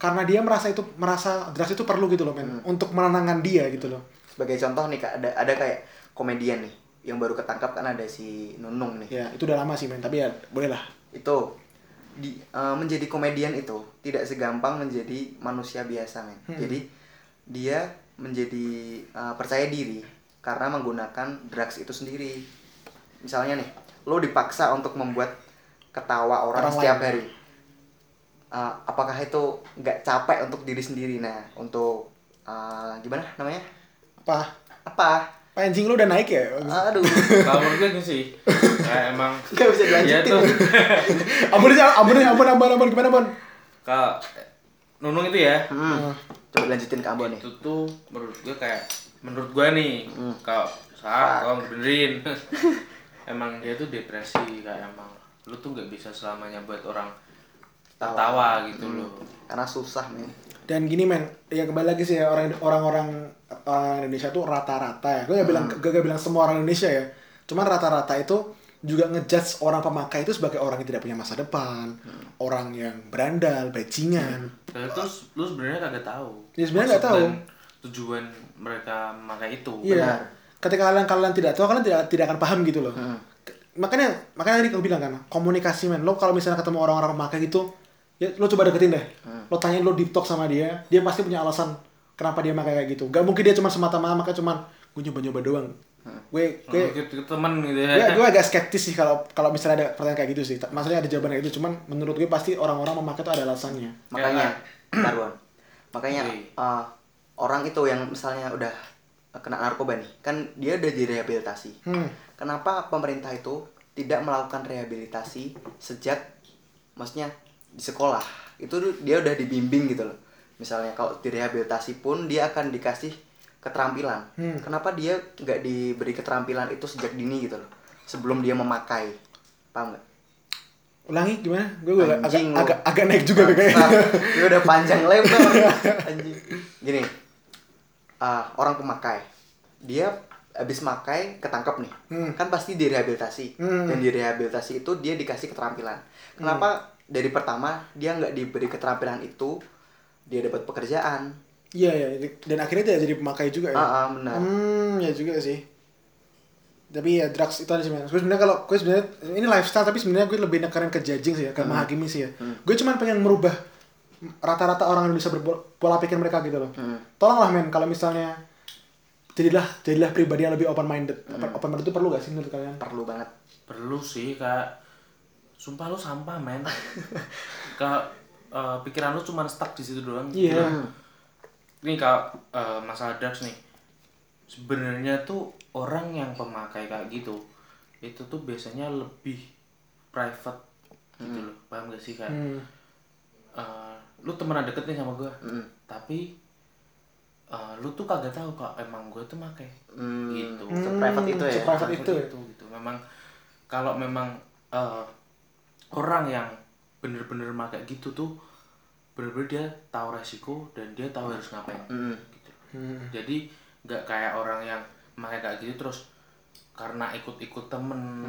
karena dia merasa itu merasa drugs itu perlu gitu loh men,
Hmm.
untuk menenangkan dia gitu loh.
sebagai contoh nih Kak, ada ada kayak komedian nih yang baru ketangkap kan ada si Nunung nih.
Ya itu udah lama sih men, tapi ya boleh lah.
Itu di eh, menjadi komedian itu tidak segampang menjadi manusia biasa men. Jadi dia menjadi eh, percaya diri karena menggunakan drugs itu sendiri. Misalnya nih, lo dipaksa untuk membuat ketawa orang,
Orang
setiap
lain.
hari. Eh, apakah itu nggak capek untuk diri sendiri? Nah, untuk eh, gimana namanya?
Apa?
Apa?
Apa anjing lu udah naik
<laughs>
ya?
Aduh,
Kalau menurut gue gini sih, kayak emang
nggak bisa
dia
dilanjutin.
tuh
Ampun aja, ampun aja, ampun ampun ampun gimana ampun?
<laughs> kalau eh, Nunung itu ya,
Hmm. Coba lanjutin ke Ambon nih.
itu tuh menurut gue kayak menurut gue nih
Hmm.
kalau
Fuck.
salah kalau benerin <laughs> emang dia tuh depresi kayak emang lu tuh nggak bisa selamanya buat orang
Tawa.
tertawa gitu
Hmm.
loh
Karena susah men.
Dan gini men, ya kembali lagi sih ya, orang orang-orang orang Indonesia tuh rata-rata ya. Gue gak bilang gue gak bilang semua orang Indonesia ya. Cuman rata-rata itu juga ngejudge orang pemakai itu sebagai orang yang tidak punya masa depan, orang yang berandal, bajingan.
Dan terus lu sebenarnya kagak tahu
Ya, sebenarnya nggak
maksud
tahu.
dan tujuan mereka memakai itu
Iya. Ketika kalian kalian tidak tahu, kalian tidak tidak akan paham gitu loh.
Hmm.
Ke- Makanya makanya tadi gue bilang kan, komunikasi men. Lo kalau misalnya ketemu orang-orang pemakai gitu, ya lo coba deketin deh.
Hmm.
Lo tanyain lo deep talk sama dia, dia pasti punya alasan kenapa dia pakai kayak gitu. Gak mungkin dia cuma semata-mata makanya cuman gue nyoba-nyoba doang.
Hmm.
Gue gue
Menurut gue teman gitu
gue,
ya
gue agak skeptis sih kalau kalau misalnya ada pertanyaan kayak gitu sih. Ta- Maksudnya ada jawaban kayak gitu, cuman menurut gue pasti orang-orang memakai itu ada alasannya.
Makanya, <clears throat> bentar, Bon. Makanya
Oke.
eh, orang itu yang misalnya udah kena narkoba nih, kan dia udah direhabilitasi.
Hmm.
Kenapa pemerintah itu tidak melakukan rehabilitasi sejak maksudnya di sekolah? Itu tuh dia udah dibimbing gitu loh. Misalnya kalau direhabilitasi pun dia akan dikasih keterampilan.
Hmm.
Kenapa dia nggak diberi keterampilan itu sejak dini gitu loh? Sebelum dia memakai. Paham nggak?
Ulangi gimana? Gue gue agak,
Anjing lo.
agak agak naik juga Iya. gue kayaknya. <laughs>
Bangsat. Ini udah panjang lebar. Anjing. Gini. ah, orang pemakai. Dia habis makai ketangkep nih.
Hmm.
Kan pasti direhabilitasi.
Hmm.
Dan direhabilitasi itu dia dikasih keterampilan. Kenapa dari pertama dia nggak diberi keterampilan itu, dia dapat pekerjaan.
Iya ya, dan akhirnya tidak jadi pemakai juga ya.
Ah, ah, benar.
Hmm, ya juga sih. tapi ya drugs itu ada sebenarnya gue sebenarnya kalau gue sebenarnya ini lifestyle tapi sebenarnya gue lebih nekanin ke judging sih ya ke menghakimi sih ya gue cuman pengen merubah rata-rata orang Indonesia berpola pikir mereka gitu loh tolonglah men kalau misalnya jadilah jadilah pribadi yang lebih open minded open minded itu perlu gak sih menurut kalian
perlu banget
perlu sih kak sumpah lu sampah men kak eh, pikiran lu cuma stuck di situ doang gitu. Nah,
iya
ini kak eh, masalah drugs nih sebenarnya tuh orang yang pemakai kayak gitu itu tuh biasanya lebih private gitu loh paham gak sih kak
Hmm.
Eh, lu temenan deket nih sama gua
Mm.
tapi eh, lu tuh kagak tahu kak emang gua tuh makai
Hmm,
Gitu.
private itu ya.
Private itu ya?
gitu memang kalau memang eh, orang yang bener-bener pakai gitu tuh bener-bener dia tahu resiko dan dia tahu harus ngapain
Mm.
gitu.
Hmm.
jadi nggak kayak orang yang pakai kayak gitu terus karena ikut-ikut temen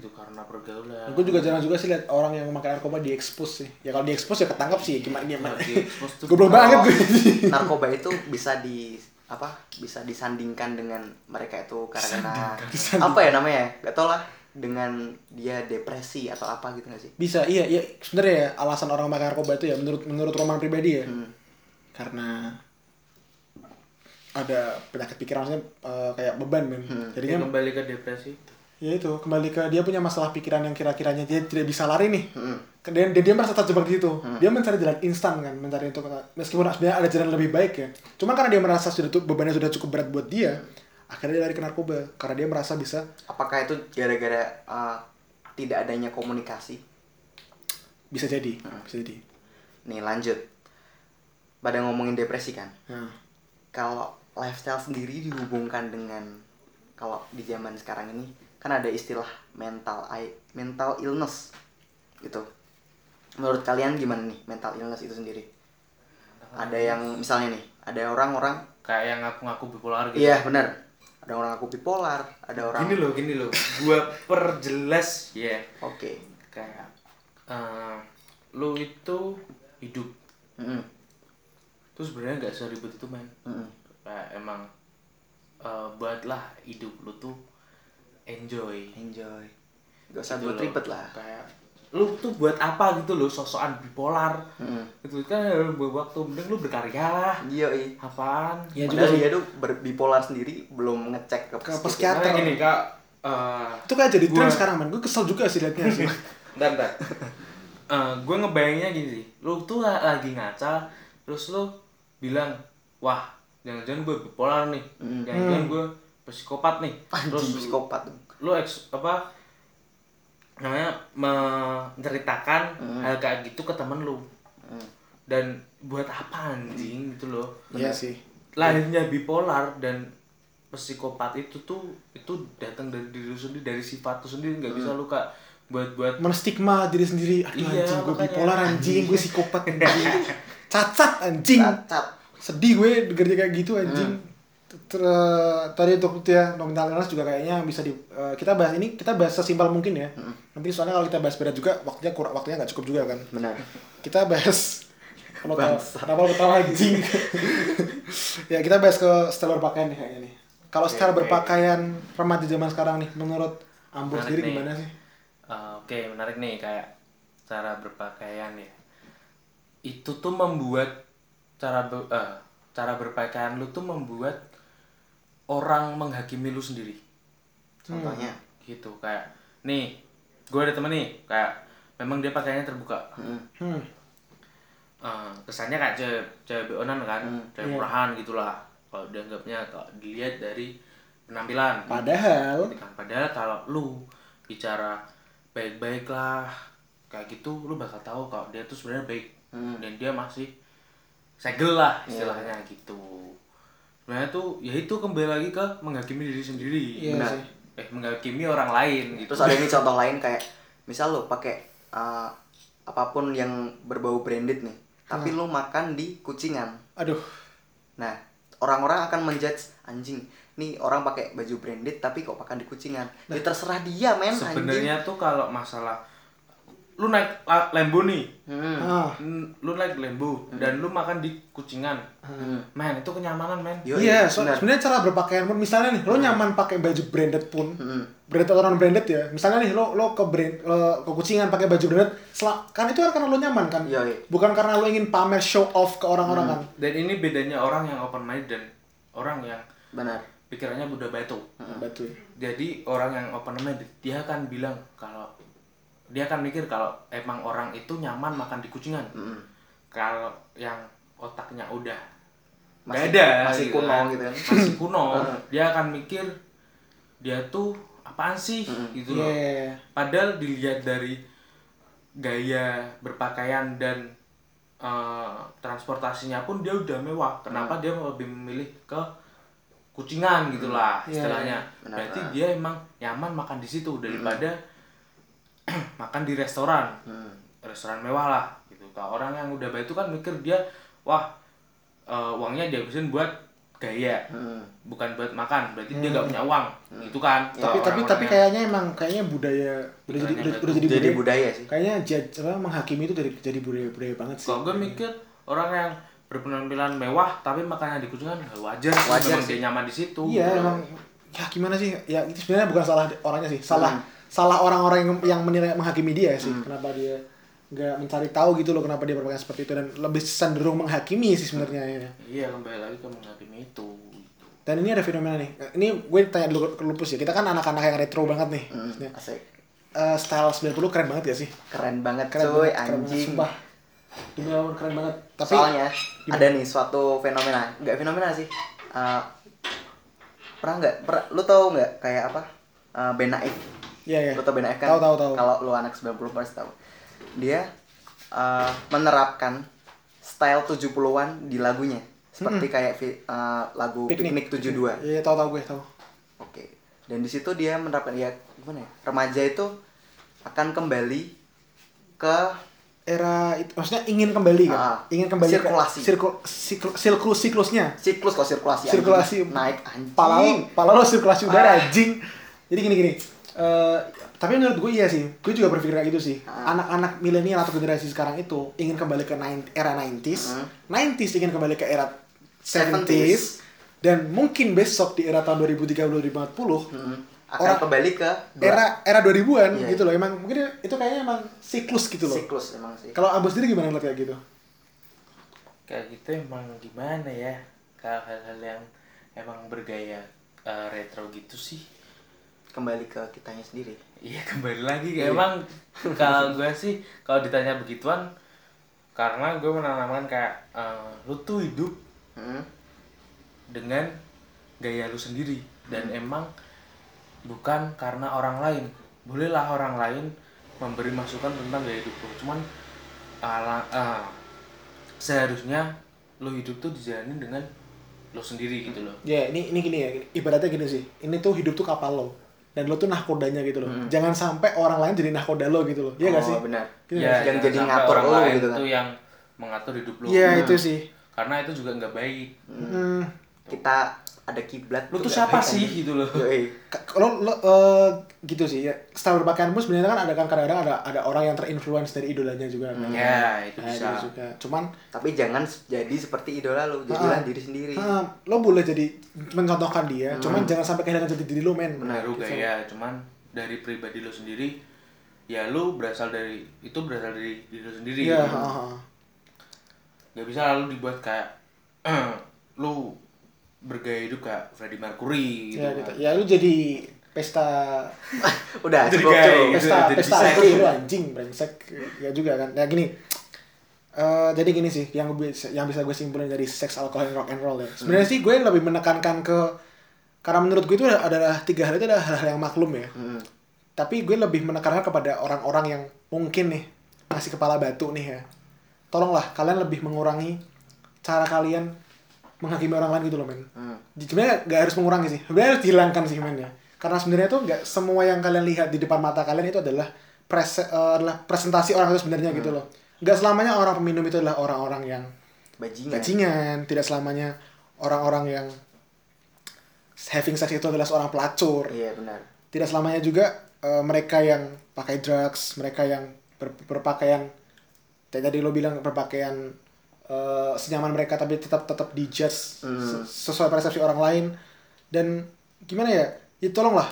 gitu karena pergaulan
gue Hmm. juga jarang juga sih lihat orang yang makan narkoba diekspos sih ya kalau diekspos ya ketangkep sih gimana gimana <laughs>
Kalau diekspos tuh-
gue belum banget gue
narkoba itu bisa di apa bisa disandingkan dengan mereka itu karena apa ya namanya gak tau lah dengan dia depresi atau apa gitu gak sih
bisa iya iya sebenarnya ya, alasan orang makan narkoba itu ya menurut menurut Roman pribadi ya karena ada penyakit pikiran maksudnya eh, kayak beban men
Ya,
jadinya
kembali ke depresi
ya itu kembali ke dia punya masalah pikiran yang kira-kiranya dia tidak bisa lari nih
Hmm.
dan dia, dia merasa terjebak di situ dia mencari jalan instan kan mencari untuk meskipun sebenarnya ada jalan lebih baik ya cuma karena dia merasa sudah tu- bebannya sudah cukup berat buat dia akhirnya dia lari ke narkoba karena dia merasa bisa
apakah itu gara-gara uh, tidak adanya komunikasi
bisa jadi bisa jadi
nih lanjut pada ngomongin depresi kan
nah.
kalau lifestyle sendiri dihubungkan dengan kalau di zaman sekarang ini kan ada istilah mental i- mental illness gitu menurut kalian gimana nih mental illness itu sendiri ada yang misalnya nih ada orang-orang
kayak yang ngaku-ngaku bipolar gitu
iya benar ada orang aku bipolar ada orang oke
gini loh gini loh gua perjelas ya kayak eh, lu itu hidup
Mm-mm,
tuh sebenarnya nggak seribet itu men
mm-mm.
kayak emang eh, buatlah hidup lu tuh enjoy
enjoy gak usah
Gitu
buat
loh.
ribet lah
kayak lu tuh buat apa gitu loh sosokan bipolar
Mm-mm.
itu kan lu buat waktu mending lu berkarya lah
iya iya
apaan
Ya, juga
Padahal
sih.
dia tuh ber- bipolar sendiri belum ngecek ke
Ke
psikiater.
psikiater.
Karena gini kak eh,
itu kayak jadi tren
Gua-
sekarang men gue kesel juga sih liatnya sih
Bentar, bentar. <laughs> Eh, gue ngebayanginnya gini sih. Lu tuh la- lagi ngaca, terus lu bilang, wah, jangan-jangan gue bipolar nih, jangan-jangan gue psikopat nih. Terus
Anjing, psikopat
lu eks- apa namanya menceritakan hal kayak gitu ke temen lu.
Mm.
Dan buat apa anjing gitu loh.
iya sih
Lahirnya bipolar dan psikopat itu tuh itu datang dari diri lu sendiri dari sifat lu sendiri nggak bisa lu kak buat buat
menstigma diri sendiri aduh
Iya,
anjing gue
makanya.
bipolar anjing gue psikopat anjing cacat anjing
cacat
sedih gue kerja kayak gitu anjing
Hmm.
Ter- tadi untuk itu ya nominal illness juga kayaknya bisa di eh, kita bahas ini kita bahas sesimpel mungkin ya
Hmm.
nanti soalnya kalau kita bahas berat juga waktunya kurang waktunya nggak cukup juga kan
benar
kita bahas kalau tahu kenapa lo ketawa
<laughs>
anjing ya kita bahas ke style berpakaian nih kayaknya nih kalau style berpakaian remaja zaman sekarang nih menurut Ambo
Menarik
sendiri
nih.
gimana sih
Uh, Oke, menarik nih kayak cara berpakaian ya. Itu tuh membuat cara be- eh, cara berpakaian lu tuh membuat orang menghakimi lu sendiri.
contohnya
Gitu kayak nih, gue ada temen nih kayak memang dia pakaiannya terbuka.
hmm.
Eh, kesannya kayak cewek cewek beonan kan, cewek murahan gitulah. Kalau dianggapnya kalau dilihat dari penampilan.
padahal
Kan, padahal kalau lu bicara baik-baik lah kayak gitu lu bakal tahu kalau dia tuh sebenarnya baik
Hmm.
dan dia masih segel lah
Iya.
istilahnya gitu sebenarnya tuh ya itu kembali lagi ke menghakimi diri sendiri
Iya
Benar.
sih. Iya,
eh menghakimi orang lain gitu
terus ada ini contoh lain kayak misal lo pakai uh, apapun yang berbau branded nih tapi
Hmm.
lo makan di kucingan
aduh
nah orang-orang akan menjudge anjing nih orang pakai
Nah.
baju branded tapi kok makan di kucingan ya terserah dia men anjing
sebenarnya tuh kalau masalah lu naik la- Lambo nih
Hmm.
Ah,
Hmm, lu naik Lambo dan lu makan di kucingan
Hmm.
men itu kenyamanan men
Yoi,
iya, so,
benar.
sebenarnya cara berpakaian pun misalnya nih, lo nyaman pakai baju branded pun,
Hmm.
branded atau non branded ya. Misalnya nih lo lo ke brand lo ke kucingan pakai baju branded, sel- kan itu kan karena lo nyaman kan.
Iya, iya.
Bukan karena lo ingin pamer show off ke orang-orang kan.
dan ini bedanya orang yang open minded dan orang yang
Benar.
pikirannya udah batu
Betul.
jadi orang yang open minded dia akan bilang kalau dia akan mikir kalau emang orang itu nyaman makan di kucingan
Hmm.
kalau yang otaknya udah
Masih-
beda
masih
gitu
kuno
kan.
gitu kan.
masih
<laughs>
kuno dia akan mikir dia tuh apaan sih gitu
Iya.
loh padahal dilihat dari gaya berpakaian dan eh, transportasinya pun dia udah mewah kenapa dia lebih memilih ke kucingan gitulah istilahnya
Benar,
berarti
benar.
dia emang nyaman makan di situ daripada <clears throat> makan di restoran
Hmm.
restoran mewah lah gitu kalau orang yang udah baik itu kan mikir dia wah eh, uangnya dihabisin buat gaya
Hmm.
bukan buat makan berarti dia nggak punya uang gitu kan
Tapi tapi tapi kayaknya emang kayaknya budaya udah jadi
Budaya
udah,
batu.
udah jadi,
Jadi
budaya.
budaya sih.
Kayaknya judge, apa, menghakimi itu dari jadi budaya budaya banget sih.
kalau gue mikir orang yang berpenampilan mewah tapi makannya di kucingan nggak wajar sih.
Wajar
Memang
sih.
dia nyaman di situ
Iya
gitu.
emang ya gimana sih? Ya itu sebenarnya bukan salah orangnya sih, salah
Hmm.
salah orang-orang yang yang menilai menghakimi dia sih. Kenapa dia nggak mencari tahu gitu loh kenapa dia berpakaian seperti itu dan lebih cenderung menghakimi sih sebenarnya
Hmm.
ya.
iya kembali lagi ke menghakimi itu gitu.
Dan ini ada fenomena nih. Eh, Ini gue tanya dulu ke Lupus ya. Kita kan anak-anak yang retro banget nih.
Hmm.
Maksudnya,
Asik.
eh, style 90 keren banget ya sih.
Keren banget
Keren
cuy,
banget, keren banget,
anjing.
sumpah. Demi Allah, keren banget. Tapi
Soalnya ada nih suatu fenomena, nggak fenomena sih. Eh, pernah nggak? per- lu tau nggak kayak apa? Eh, ben Naif.
iya ya.
Lu tau Ben Naif kan?
Tahu tahu tahu.
Kalau lu anak 90 pasti tahu. Dia eh, menerapkan style 70-an di lagunya. Seperti kayak vi- eh, lagu Piknik, 72.
Iya, tahu tahu gue tahu.
Oke. Dan di situ dia menerapkan ya gimana ya? Remaja itu akan kembali ke
Era itu maksudnya ingin kembali kan?
Ah,
ingin kembali ke-
sirkulasi.
sirkul, siklu- siklus siklusnya.
siklus kok sirkulasi. anjing.
Sirkulasi.
naik anjing.
Pala lo, pala lo sirkulasi udara
Ah.
anjing. Jadi gini gini. Eh, tapi menurut gue iya sih. Gue juga berpikir kayak gitu sih.
Ah.
Anak-anak milenial atau generasi sekarang itu ingin kembali ke 9 era 90s.
Hmm.
90s ingin kembali ke era
70s.
70s. Dan mungkin besok di era tahun 2030-2040
Hmm. akan
Orang- Eh,
kembali ke dua
era era 2000-an
Iya.
gitu loh. Emang mungkin itu kayaknya emang siklus gitu loh.
siklus emang sih.
Kalau Abus sendiri gimana ngeliat kayak gitu?
kayak gitu emang gimana ya kalau hal-hal yang emang bergaya eh, retro gitu sih
Kembali ke kitanya sendiri.
Iya kembali lagi emang kalau gue sih kalau ditanya begituan karena gue menanamkan kayak eh, lu tuh hidup
Hmm.
dengan gaya lu sendiri dan emang bukan karena orang lain bolehlah orang lain memberi masukan tentang gaya hidup lu cuman ala- eh, seharusnya lu hidup tuh dijalani dengan lu sendiri gitu loh
Ya, ini ini gini ya, gini. ibaratnya gini sih. Ini tuh hidup tuh kapal lo. Dan lo tuh nahkodanya gitu loh.
Hmm.
Jangan sampai orang lain jadi nahkoda lo gitu loh. Iya nggak
Oh,
sih?
benar.
Gitu nggak sih?
Ya,
Yang
jangan
jadi
sampai
ngatur
orang
lu
lain
gitu kan.
tuh yang mengatur hidup lu Hmm.
Iya, itu sih.
karena itu juga nggak baik
Hmm.
Kita ada kiblat.
lu tuh
gak
siapa
baik,
sih
anjing.
gitu loh
<laughs> Yoi.
Ka- Kalau lo eh, gitu sih ya. Style berpakaian pun sebenarnya kan ada kan kadang-kadang ada ada orang yang terinfluence dari idolanya juga. kan.
ya itu
Nah,
bisa
gitu juga. Cuman
Tapi jangan se- jadi seperti idola lu, jadilah diri sendiri.
eh, lo boleh jadi mencontohkan dia,
Hmm.
cuman jangan sampai kehilangan jati diri lo men.
menaruh gaya cuman dari pribadi lu sendiri ya lu berasal dari itu berasal dari diri lu sendiri
Iya,
gitu.
heeh.
nggak bisa lalu dibuat kayak eh, lu bergaya hidup kayak Freddie Mercury gitu
Ya,
kan.
gitu. ya lu jadi pesta
<laughs> Udah,
Jadi
cukup,
gay.
cukup.
pesta
jadi
pesta
bisa.
itu lu anjing brengsek ya juga kan ya gini Eh, jadi gini sih yang gue yang bisa gue simpulin dari seks alkohol dan rock and roll ya
Hmm.
sebenarnya sih gue lebih menekankan ke karena menurut gue itu adalah tiga hal itu adalah hal-hal yang maklum ya
Hmm.
tapi gue lebih menekankan kepada orang-orang yang mungkin nih masih kepala batu nih ya tolonglah kalian lebih mengurangi cara kalian menghakimi orang lain gitu loh men
Hmm.
sebenarnya nggak harus mengurangi sih sebenarnya harus dihilangkan sih men ya karena sebenarnya tuh nggak semua yang kalian lihat di depan mata kalian itu adalah prese- eh, adalah presentasi orang itu sebenarnya gitu loh nggak selamanya orang peminum itu adalah orang-orang yang
Bajingan.
bajingan tidak selamanya orang-orang yang having sex itu adalah seorang pelacur
Iya, benar.
tidak selamanya juga eh, mereka yang pakai drugs mereka yang ber- berpakaian kayak tadi lo bilang berpakaian eh, senyaman mereka tapi tetap tetap dijudge
Hmm.
se- sesuai persepsi orang lain dan gimana ya ya tolonglah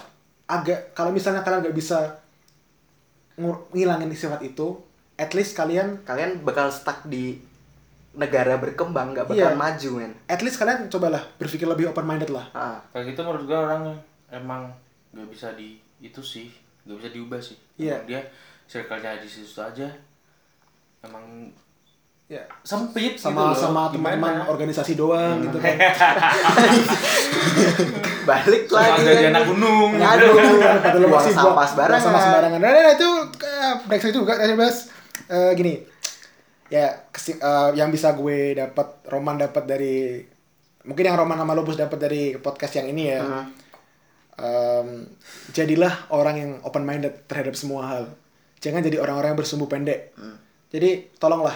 agak kalau misalnya kalian nggak bisa ngur- ngilangin sifat itu at least kalian
Kalian bakal stuck di negara berkembang nggak
Iya.
bakal maju men.
at least kalian cobalah berpikir lebih open minded lah
Ah, <laughs>
Kayak gitu menurut gue orang emang nggak bisa di itu sih, nggak bisa diubah sih.
Iya.
Emang Dia circle-nya di situ aja. Emang
ya
sempit
sama
gitu loh.
sama
Gimana?
teman-teman organisasi doang gitu
<laughs>
kan
balik
Sama
lagi.
jadi
men.
anak gunung. gitu kan.
Aduh,
pada lu
buang
masih
sampah sembarangan.
sama sembarangan. Nah, nah, nah, itu eh, break saya juga tadi bahas Eh, gini. Ya, kesi- eh, yang bisa gue dapat Roman dapat dari mungkin yang Roman sama Lobus dapat dari podcast yang ini ya.
Hmm.
Em, jadilah orang yang open minded terhadap semua hal. Jangan jadi orang-orang yang bersumbu pendek. Jadi tolonglah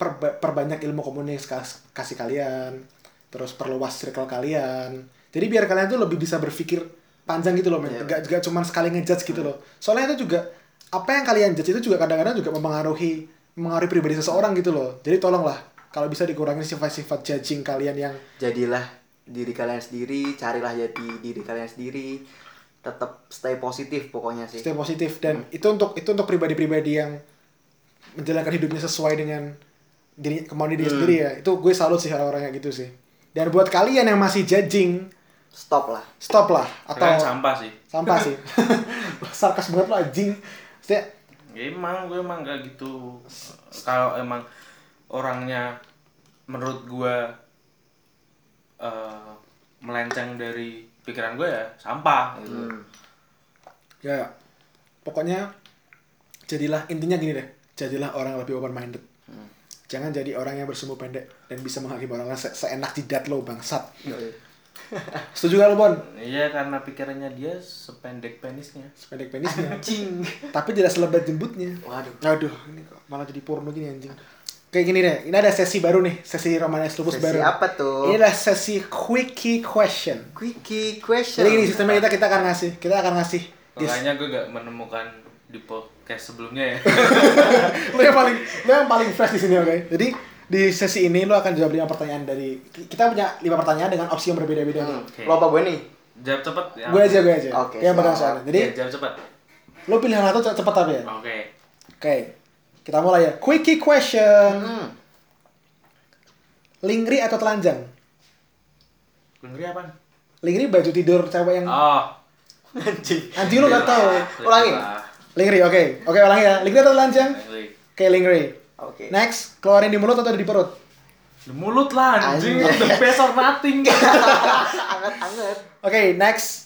perba- perbanyak ilmu komunikasi kalian, terus perluas circle kalian. Jadi biar kalian tuh lebih bisa berpikir panjang gitu loh, men.
Iya.
Gak, gak cuman sekali ngejudge gitu loh. Soalnya itu juga apa yang kalian judge itu juga kadang-kadang juga mempengaruhi mempengaruhi pribadi seseorang gitu loh. Jadi tolonglah kalau bisa dikurangin sifat-sifat judging kalian yang
Jadilah diri kalian sendiri, carilah jadi diri kalian sendiri. Tetap stay positif pokoknya sih.
stay positif dan itu untuk itu untuk pribadi-pribadi yang menjalankan hidupnya sesuai dengan diri kemauan diri sendiri ya itu gue salut sih orang-orang kayak gitu sih dan buat kalian yang masih judging
Stop lah.
stop lah atau
Kalian sampah sih.
sampah sih <laughs> sarkas banget lo anjing Maksudnya,
Ya emang gue emang gak gitu. Kalau emang orangnya menurut gue eh, melenceng dari pikiran gue ya sampah gitu.
Hmm. ya pokoknya jadilah intinya gini deh jadilah orang yang lebih open minded jangan jadi orang yang bersumbu pendek dan bisa menghakimi orang lain se- seenak jidat lo bangsat setuju gak lo bon
Iya karena pikirannya dia sependek penisnya.
sependek penisnya
Cing.
tapi tidak selebat jembutnya
Waduh.
Aduh, ini kok malah jadi porno gini anjing. Kayak gini deh, ini ada sesi baru nih, sesi Romanes Lupus
Sesi
baru.
apa tuh?
Ini adalah sesi quickie question.
Quickie question.
Jadi gini sistemnya kita kita akan ngasih, kita akan ngasih. Yes.
Makanya gue gak menemukan di podcast sebelumnya ya.
<laughs>
<laughs>
Lu yang paling lu yang paling fresh di sini, oke? Jadi di sesi ini lu akan jawab lima pertanyaan dari kita punya lima pertanyaan dengan opsi yang berbeda-beda nih.
Hmm. Lo apa gue nih?
jawab cepet ya.
Gue aja, gue aja.
Oke,
yang pertanyaan
siap.
soalnya. Jadi
Jadi jawab cepet.
lu pilih yang satu cepet tapi ya.
Oke.
Oke. Kita mulai ya. Quickie question.
Hmm.
Lingri atau telanjang?
Gue ngeri apa?
Lingri baju tidur cewek yang
Oh.
Anjing.
Anjing lu gak tahu.
Ulangin.
Lingri, oke. Oke, ulangi ya. Lingri atau telanjang?
Lingri.
Oke, lingri.
Oke.
Next, keluarin di mulut atau di perut?
Di mulut lah anjing.
Anjing.
The best
<laughs>
or nothing.
Anget-anget.
Oke, next.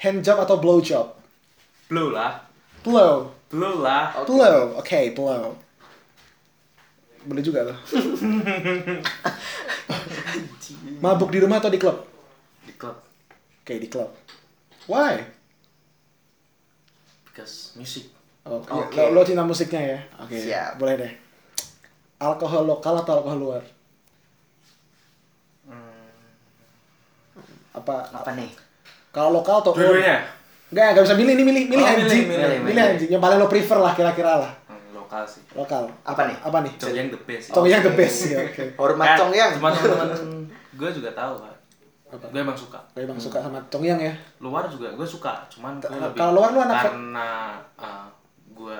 Hand job atau blow job?
Blow lah.
Blow.
Blow lah.
Oke.
Blow. Oke, blow. Boleh juga
<laughs>
loh. Mabuk di rumah atau di klub?
Di klub.
Oke, di klub. Why?
Because music.
Oh,
Oke.
iya, Lo, lo cinta musiknya ya? Oke.
Siap.
Boleh deh. Alkohol lokal atau alkohol luar?
Hmm.
Apa?
Apa nih?
Kalau lokal atau
Dua-duanya.
Enggak, enggak bisa milih ini milih, milih
Oh, milih,
anjing. Milih,
milih,
milih.
anjing yang paling lo prefer lah kira-kira lah.
Hmm, lokal sih.
Lokal.
Apa nih?
Apa nih?
Congyang the best. sih.
Cong yang the best ya, oke.
Nah, Hormat Cong Yang.
Eh, Cuma teman-teman gue juga tahu kan.
Apa?
Gue emang suka.
Gue emang suka sama Cong yang ya.
luar juga gue suka cuman gue
Kalau
lebih
luar lu anak-
karena uh, gue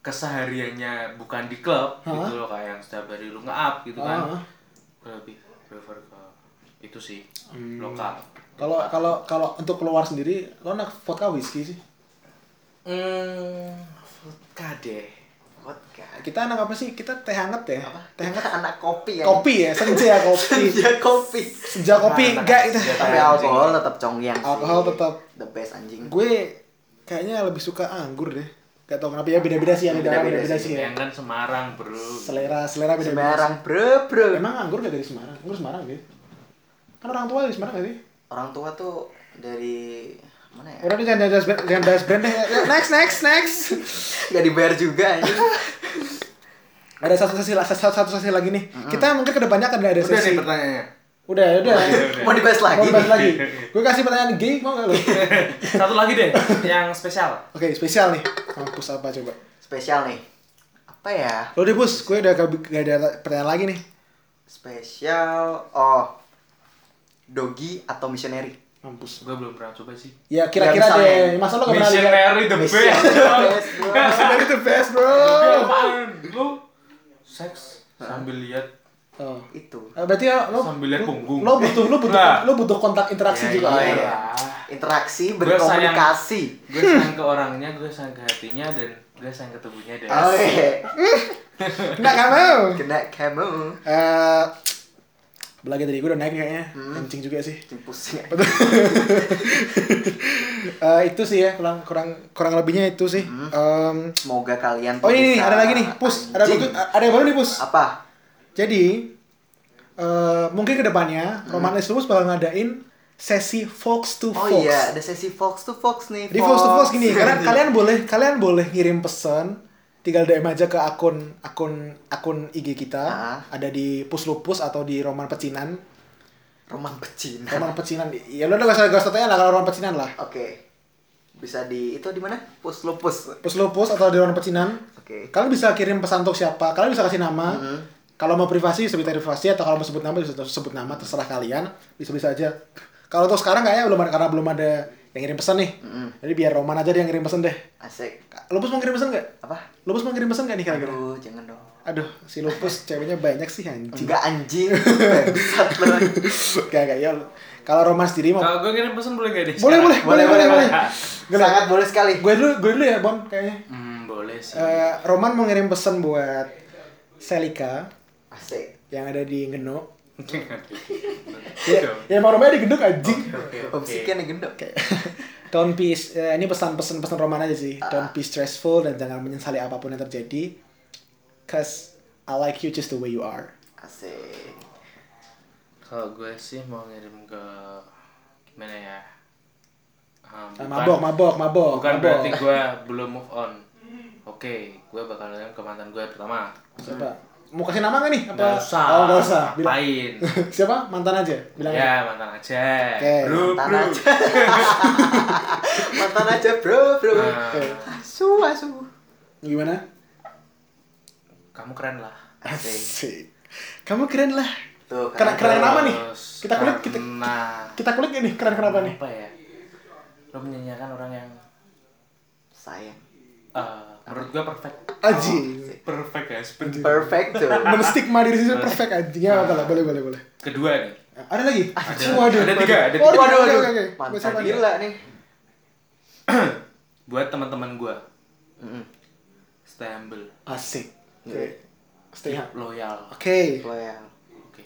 kesehariannya bukan di klub
Hah?
gitu loh kayak yang setiap hari lu nge-up gitu kan
Ah.
gue lebih prefer ke itu sih
Hmm.
lokal
Kalau kalau kalau untuk keluar sendiri, lo anak vodka whisky sih.
hmm vodka deh
Vodka.
Kita anak apa sih? Kita teh hangat ya. Teh hangat.
Anak kopi ya. <laughs>
Kopi ya, senja ya kopi.
Ya kopi.
Nah, Senja kopi,
Nah,
Anak-anak
enggak itu.
senja
Tapi
Anjing.
alkohol tetap Cong Yang. sih.
Alkohol tetap.
the best anjing.
Gue kayaknya lebih suka anggur deh. Gak tau kenapa ya beda-beda sih ya, beda-beda,
Beda-beda
beda-beda
sih,
sih ya.
yang kan Semarang bro
Selera selera beda-beda. sih.
Semarang bro bro.
Emang anggur gak dari Semarang? Anggur Semarang gitu. Kan orang tua dari Semarang gak sih?
Orang tua tuh dari mana ya? <laughs>
Udah nih jangan jangan bahas brand, jangan bahas brand deh. Ya, Next next next.
Gak dibayar juga anjing.
Ada satu sesi la- satu, satu sesi lagi nih. Kita mungkin kedepannya akan ada
udah
sesi.
nih pertanyaannya
Udah udah.
Mau dibahas
Mau
lagi.
dibahas lagi. Gue kasih pertanyaan
<laughs>
gay mau gak lo? Oke
satu lagi deh yang spesial
spesial nih. Kampus apa coba?
spesial nih apa ya
Lo deh bus, gue udah gak, gak ada pertanyaan lagi nih.
spesial oh dogi atau missionary
Mampus.
Gue belum pernah coba sih.
Ya kira-kira
Ya, misalnya.
deh, masa lo gak pernah lihat?
Missionary the
Missionary
best.
the
bro.
best, bro.
Missionary the best bro.
Apaan? Lu seks sambil lihat
Oh.
itu
Eh, Berarti ya, lo,
Sambil lihat punggung.
lo butuh lo butuh
Nah.
lo butuh kontak interaksi
Ya,
juga.
iya,
ya.
iya. interaksi
Gua sayang-
berkomunikasi
Gue sayang ke orangnya, gue sayang ke hatinya dan gue sayang ke tubuhnya deh.
oh iya
Nggak nggak mau.
kena kamu
Eh, Belagi tadi gue udah naik kayaknya.
Hmm.
Kencing juga sih. <laughs>
Pusing, pusing
Eh, itu sih ya kurang kurang kurang lebihnya itu sih.
Hmm.
Em,
semoga kalian
oh
tuh
ini nih,
bisa-
ada lagi Ah. nih, pus. Ada
Anjing.
bagus- ada yang baru nih pus.
apa
Jadi eh mungkin kedepannya Roman Lestubus bakal ngadain sesi Fox to
Hmm. oh
Fox.
iya ada sesi fox to fox nih
Di Fox to Fox
<laughs>
gini, karena kalian boleh kalian boleh ngirim pesan tinggal DM aja ke akun akun akun IG kita
Ah.
ada di Puslupus atau di Roman Pecinan.
roman pecina
Roman Pecinan. Ya lu udah gak usah gak usah tanya lah kalau Roman Pecinan lah.
Oke. Bisa di itu di mana? Pus lupus. Oke.
Puslupus atau di Roman Pecinan. Kalian bisa kirim pesan untuk siapa? Kalian bisa kasih nama.
Mm-hmm.
Kalau mau privasi bisa minta privasi atau kalau mau sebut nama bisa sebut nama terserah kalian. Bisa-bisa aja. Kalau untuk sekarang kayaknya belum ada karena belum ada yang ngirim pesan nih. Jadi biar Roman aja dia yang ngirim pesan deh.
Asik.
Lupus mau ngirim pesan nggak?
Apa?
Lupus mau ngirim pesan nggak nih kira-kira?
Aduh, jangan dong.
Aduh, si Lupus ceweknya banyak sih anjing.
Enggak
<laughs>
anjing. Bangsat lu.
Gak, gak, ya. Kalau Roman sendiri mau...
Kalau gue kirim pesan boleh gak deh?
Boleh, boleh,
sekarang?
boleh, boleh, boleh. Gila.
Sangat boleh sekali.
Gue dulu, gue dulu ya, Bon, kayaknya.
Hmm, boleh sih. <laughs>
Eh, Roman mau ngirim pesan buat Selika
Asik.
yang ada di Ngeno.
Gitu.
Ya, ya emang rumahnya di gedung anjing.
Oke,
Om
oke.
Sikian yang gendok.
Don't be eh, ini pesan-pesan pesan Roman aja sih. Don't be stressful dan jangan menyesali apapun yang terjadi. Cause I like you just the way you are.
Asik.
Kalau gue sih mau ngirim ke gimana ya? Ah,
Ah, mabok, mabok, mabok.
bukan
mabok.
Oh, kan berarti gue belum move on. Oke, gue bakal ngirim ke mantan gue pertama.
Siapa? Mau kasih nama gak nih? Apa?
Gak usah.
Oh, gak usah. Bilang.
Ngapain?
<laughs> Siapa? Mantan aja. Bilang.
ya mantan aja.
Oke.
Bro,
Mantan
bro.
aja. <laughs> Mantan aja, Bro, Bro.
Nah,
Oke.
Asu, asu.
Gimana?
kamu keren lah.
Asik.
Asik. Kamu keren lah.
Tuh,
Keren, keren
kan.
kenapa nih?
Terus
Kita kulit, kita,
karena-
kita kulit gak nih? Keren kenapa nih?
Apa ya? Lo menyanyiakan orang yang
Sayang.
eh, menurut gue perfect.
Aji.
Perfect ya, seperti
Perfect
<laughs>
tuh.
Menstigma diri sendiri perfect anjing. Ya, apa lah. Boleh, boleh, boleh.
kedua nih.
Ada lagi?
Ada.
Waduh,
Ada tiga, ada
waduh.
tiga.
Waduh,
Waduh,
waduh,
waduh.
oke, oke. Buat siapa
Mantan
nih?
gila nih.
Buat teman-teman gue,
Mm-mm.
stay humble,
Asik. Oke. Stay hard.
loyal.
Oke.
Loyal.
Oke.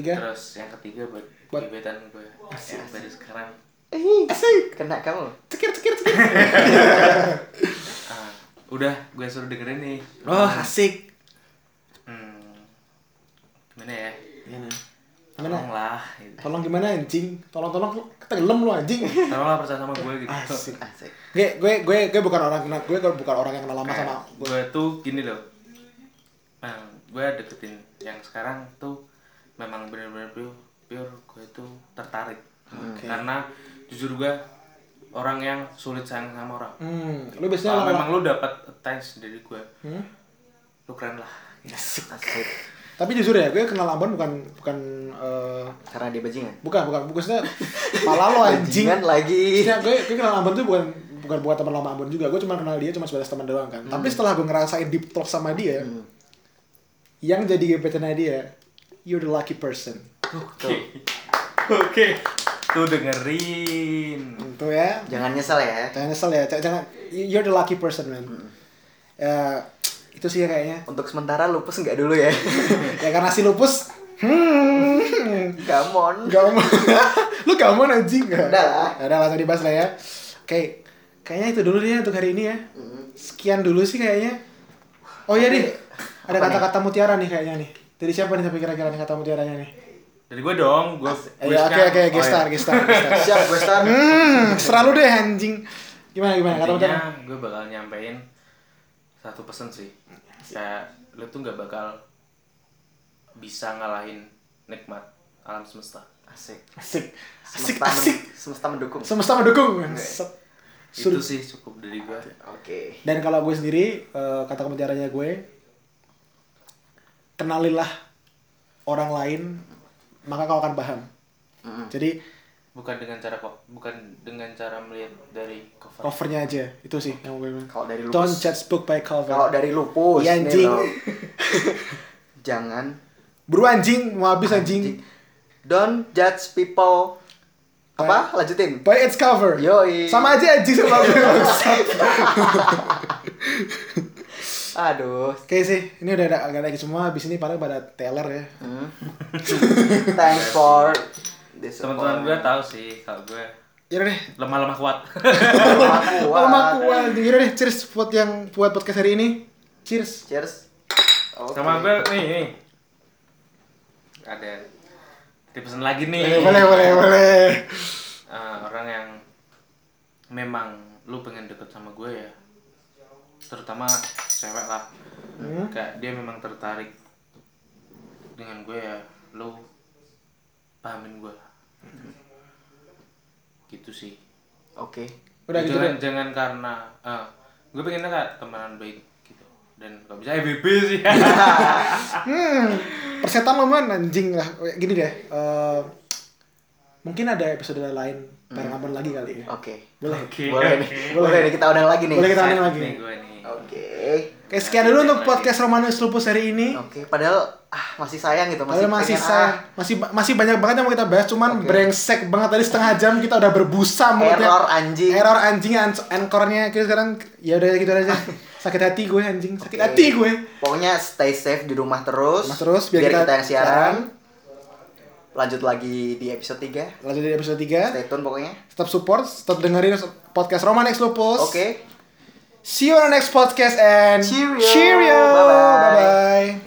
Tiga.
Terus yang ketiga buat
Iya. Buat-
gebetan gue yang baru sekarang.
Ih,
Asik.
Kena kamu.
Cekir, cekir, cekir.
Ah, udah, gue suruh dengerin nih.
Oh, asik.
Hmm, gimana ya?
Gimana? Gimana?
Tolonglah, gitu.
Tolong gimana anjing? Tolong-tolong lu- tenggelam lu anjing.
tolonglah percaya sama gue gitu.
Asik.
Asik.
Gue gue gue gue bukan orang kenal gue gue bukan orang yang kenal lama sama gue.
gue tuh gini loh Em, gue deketin yang sekarang tuh memang bener-bener pure, pure gue tuh tertarik
Oke.
karena jujur gue orang yang sulit sayang sama orang
Hmm, lu biasanya
kalau
lama
memang lu dapat attention dari gue
Hmm?
lu keren lah
Asik.
Tapi jujur ya, gue kenal Ambon bukan bukan eh,
Karena dia bajingan.
bukan bukan bukan maksudnya pala lo Oh, anjing.
Bajingan lagi.
Maksudnya Iya, gue, gue kenal Ambon tuh bukan bukan bukan teman lama Ambon juga. Gue cuma kenal dia cuma sebatas teman doang kan.
Hmm.
Tapi setelah gue ngerasain deep talk sama dia, yang jadi gebetannya dia, you're the lucky person.
oke oke tuh dengerin
Tentu ya.
Jangan nyesel ya.
Jangan nyesel ya, jangan- jangan you're the lucky person man.
Hmm.
Ya, itu sih ya kayaknya.
Untuk sementara lupus nggak dulu ya. <laughs>
ya karena si lupus, hmm,
Gamon.
gak mau, lu gak mau anjing gak?
Udah lah.
Udah lah, tadi bahas lah ya. Oke, kayaknya itu dulu deh untuk hari ini ya. Sekian dulu sih kayaknya. Oh iya nih, ada kata-kata mutiara nih kayaknya nih. Dari siapa nih tapi kira-kira nih kata mutiaranya nih?
dari gue dong gue
Oh,
Oh,
Eh,
iya.
ya, oke oke,
iya.
gestar, gestar,
<laughs>
gestar.
Siap, gue start.
Hmm, selalu deh anjing. Gimana gimana kata mutiara?
Intinya gue bakal nyampein satu pesan sih. Kayak lu tuh nggak bakal bisa ngalahin nikmat alam semesta.
Asik.
Asik, asik,
Semesta, men-
asik.
semesta mendukung.
Semesta mendukung. Set.
Itu sih cukup dari gue.
Oke.
Dan kalau gue sendiri, eh, kata pembicaranya gue, kenalilah orang lain, maka kau akan paham.
Mm-mm.
Jadi
Bukan dengan cara kok, bukan dengan cara melihat dari cover.
covernya aja, itu sih yang gue bilang.
Kalau dari lupus.
Don't judge book by
Kalau
cover.
dari lupus
Iya,
nih
anjing.
lo. <laughs> Jangan
Buruan anjing, mau habis anjing.
don't judge people. Apa? Lanjutin.
By its cover.
Yoi.
Sama aja anjing sama gue.
Aduh.
<laughs> Oke sih, ini udah ada agak lagi semua. Habis ini paling pada Taylor ya.
Hmm. Thanks for this.
Teman-teman
<laughs>
gue tahu sih kalau gue
Yaudah deh,
lemah-lemah kuat.
lama aku anjing. Yaudah deh, cheers buat yang buat podcast hari ini. Cheers.
Cheers. Oke.
Sama gue nih, nih. Ada dipesan lagi nih.
Eh, boleh, boleh, boleh.
Eh, orang yang memang lu pengen deket sama gue ya terutama cewek lah
Hmm?
kayak dia memang tertarik dengan gue ya lu pahamin gue lah. gitu sih
Oke.
Udah gitu
jangan, jangan karena eh, gue pengennya kayak temenan baik gitu dan kalau bisa FBB sih <laughs>
Hmm, persetan lo man anjing lah. Gini deh. eh, mungkin ada episode lain bareng Abon lagi kali ya.
Hmm. Oke.
Boleh.
Oke,
Boleh nih. Boleh nih kita undang lagi nih.
Boleh kita
Set
undang lagi.
nih gue nih
Oke.
Oke, sekian dulu untuk podcast Romanus Lupus hari ini.
Oke, padahal ah masih sayang gitu, masih
Padahal masih
pengen,
saya, masih ba- masih banyak banget yang mau kita bahas, cuman brengsek banget tadi setengah jam kita udah berbusa
ah,
mulutnya.
error anjing.
Error anjing ans- anchornya kita sekarang ya udah gitu
<laughs>
aja. Sakit hati gue anjing, sakit hati gue.
Pokoknya stay safe di rumah terus.
Rumah terus, biar kita
kita, yang siaran.
siaran.
Lanjut lagi di episode 3.
Lanjut di episode 3.
Stay tune pokoknya.
Tetap support, tetap dengerin podcast Roman X Lupus.
Oke.
See you on the next podcast and
Cheerio.
Cheerio.
Bye-bye.
Bye-bye.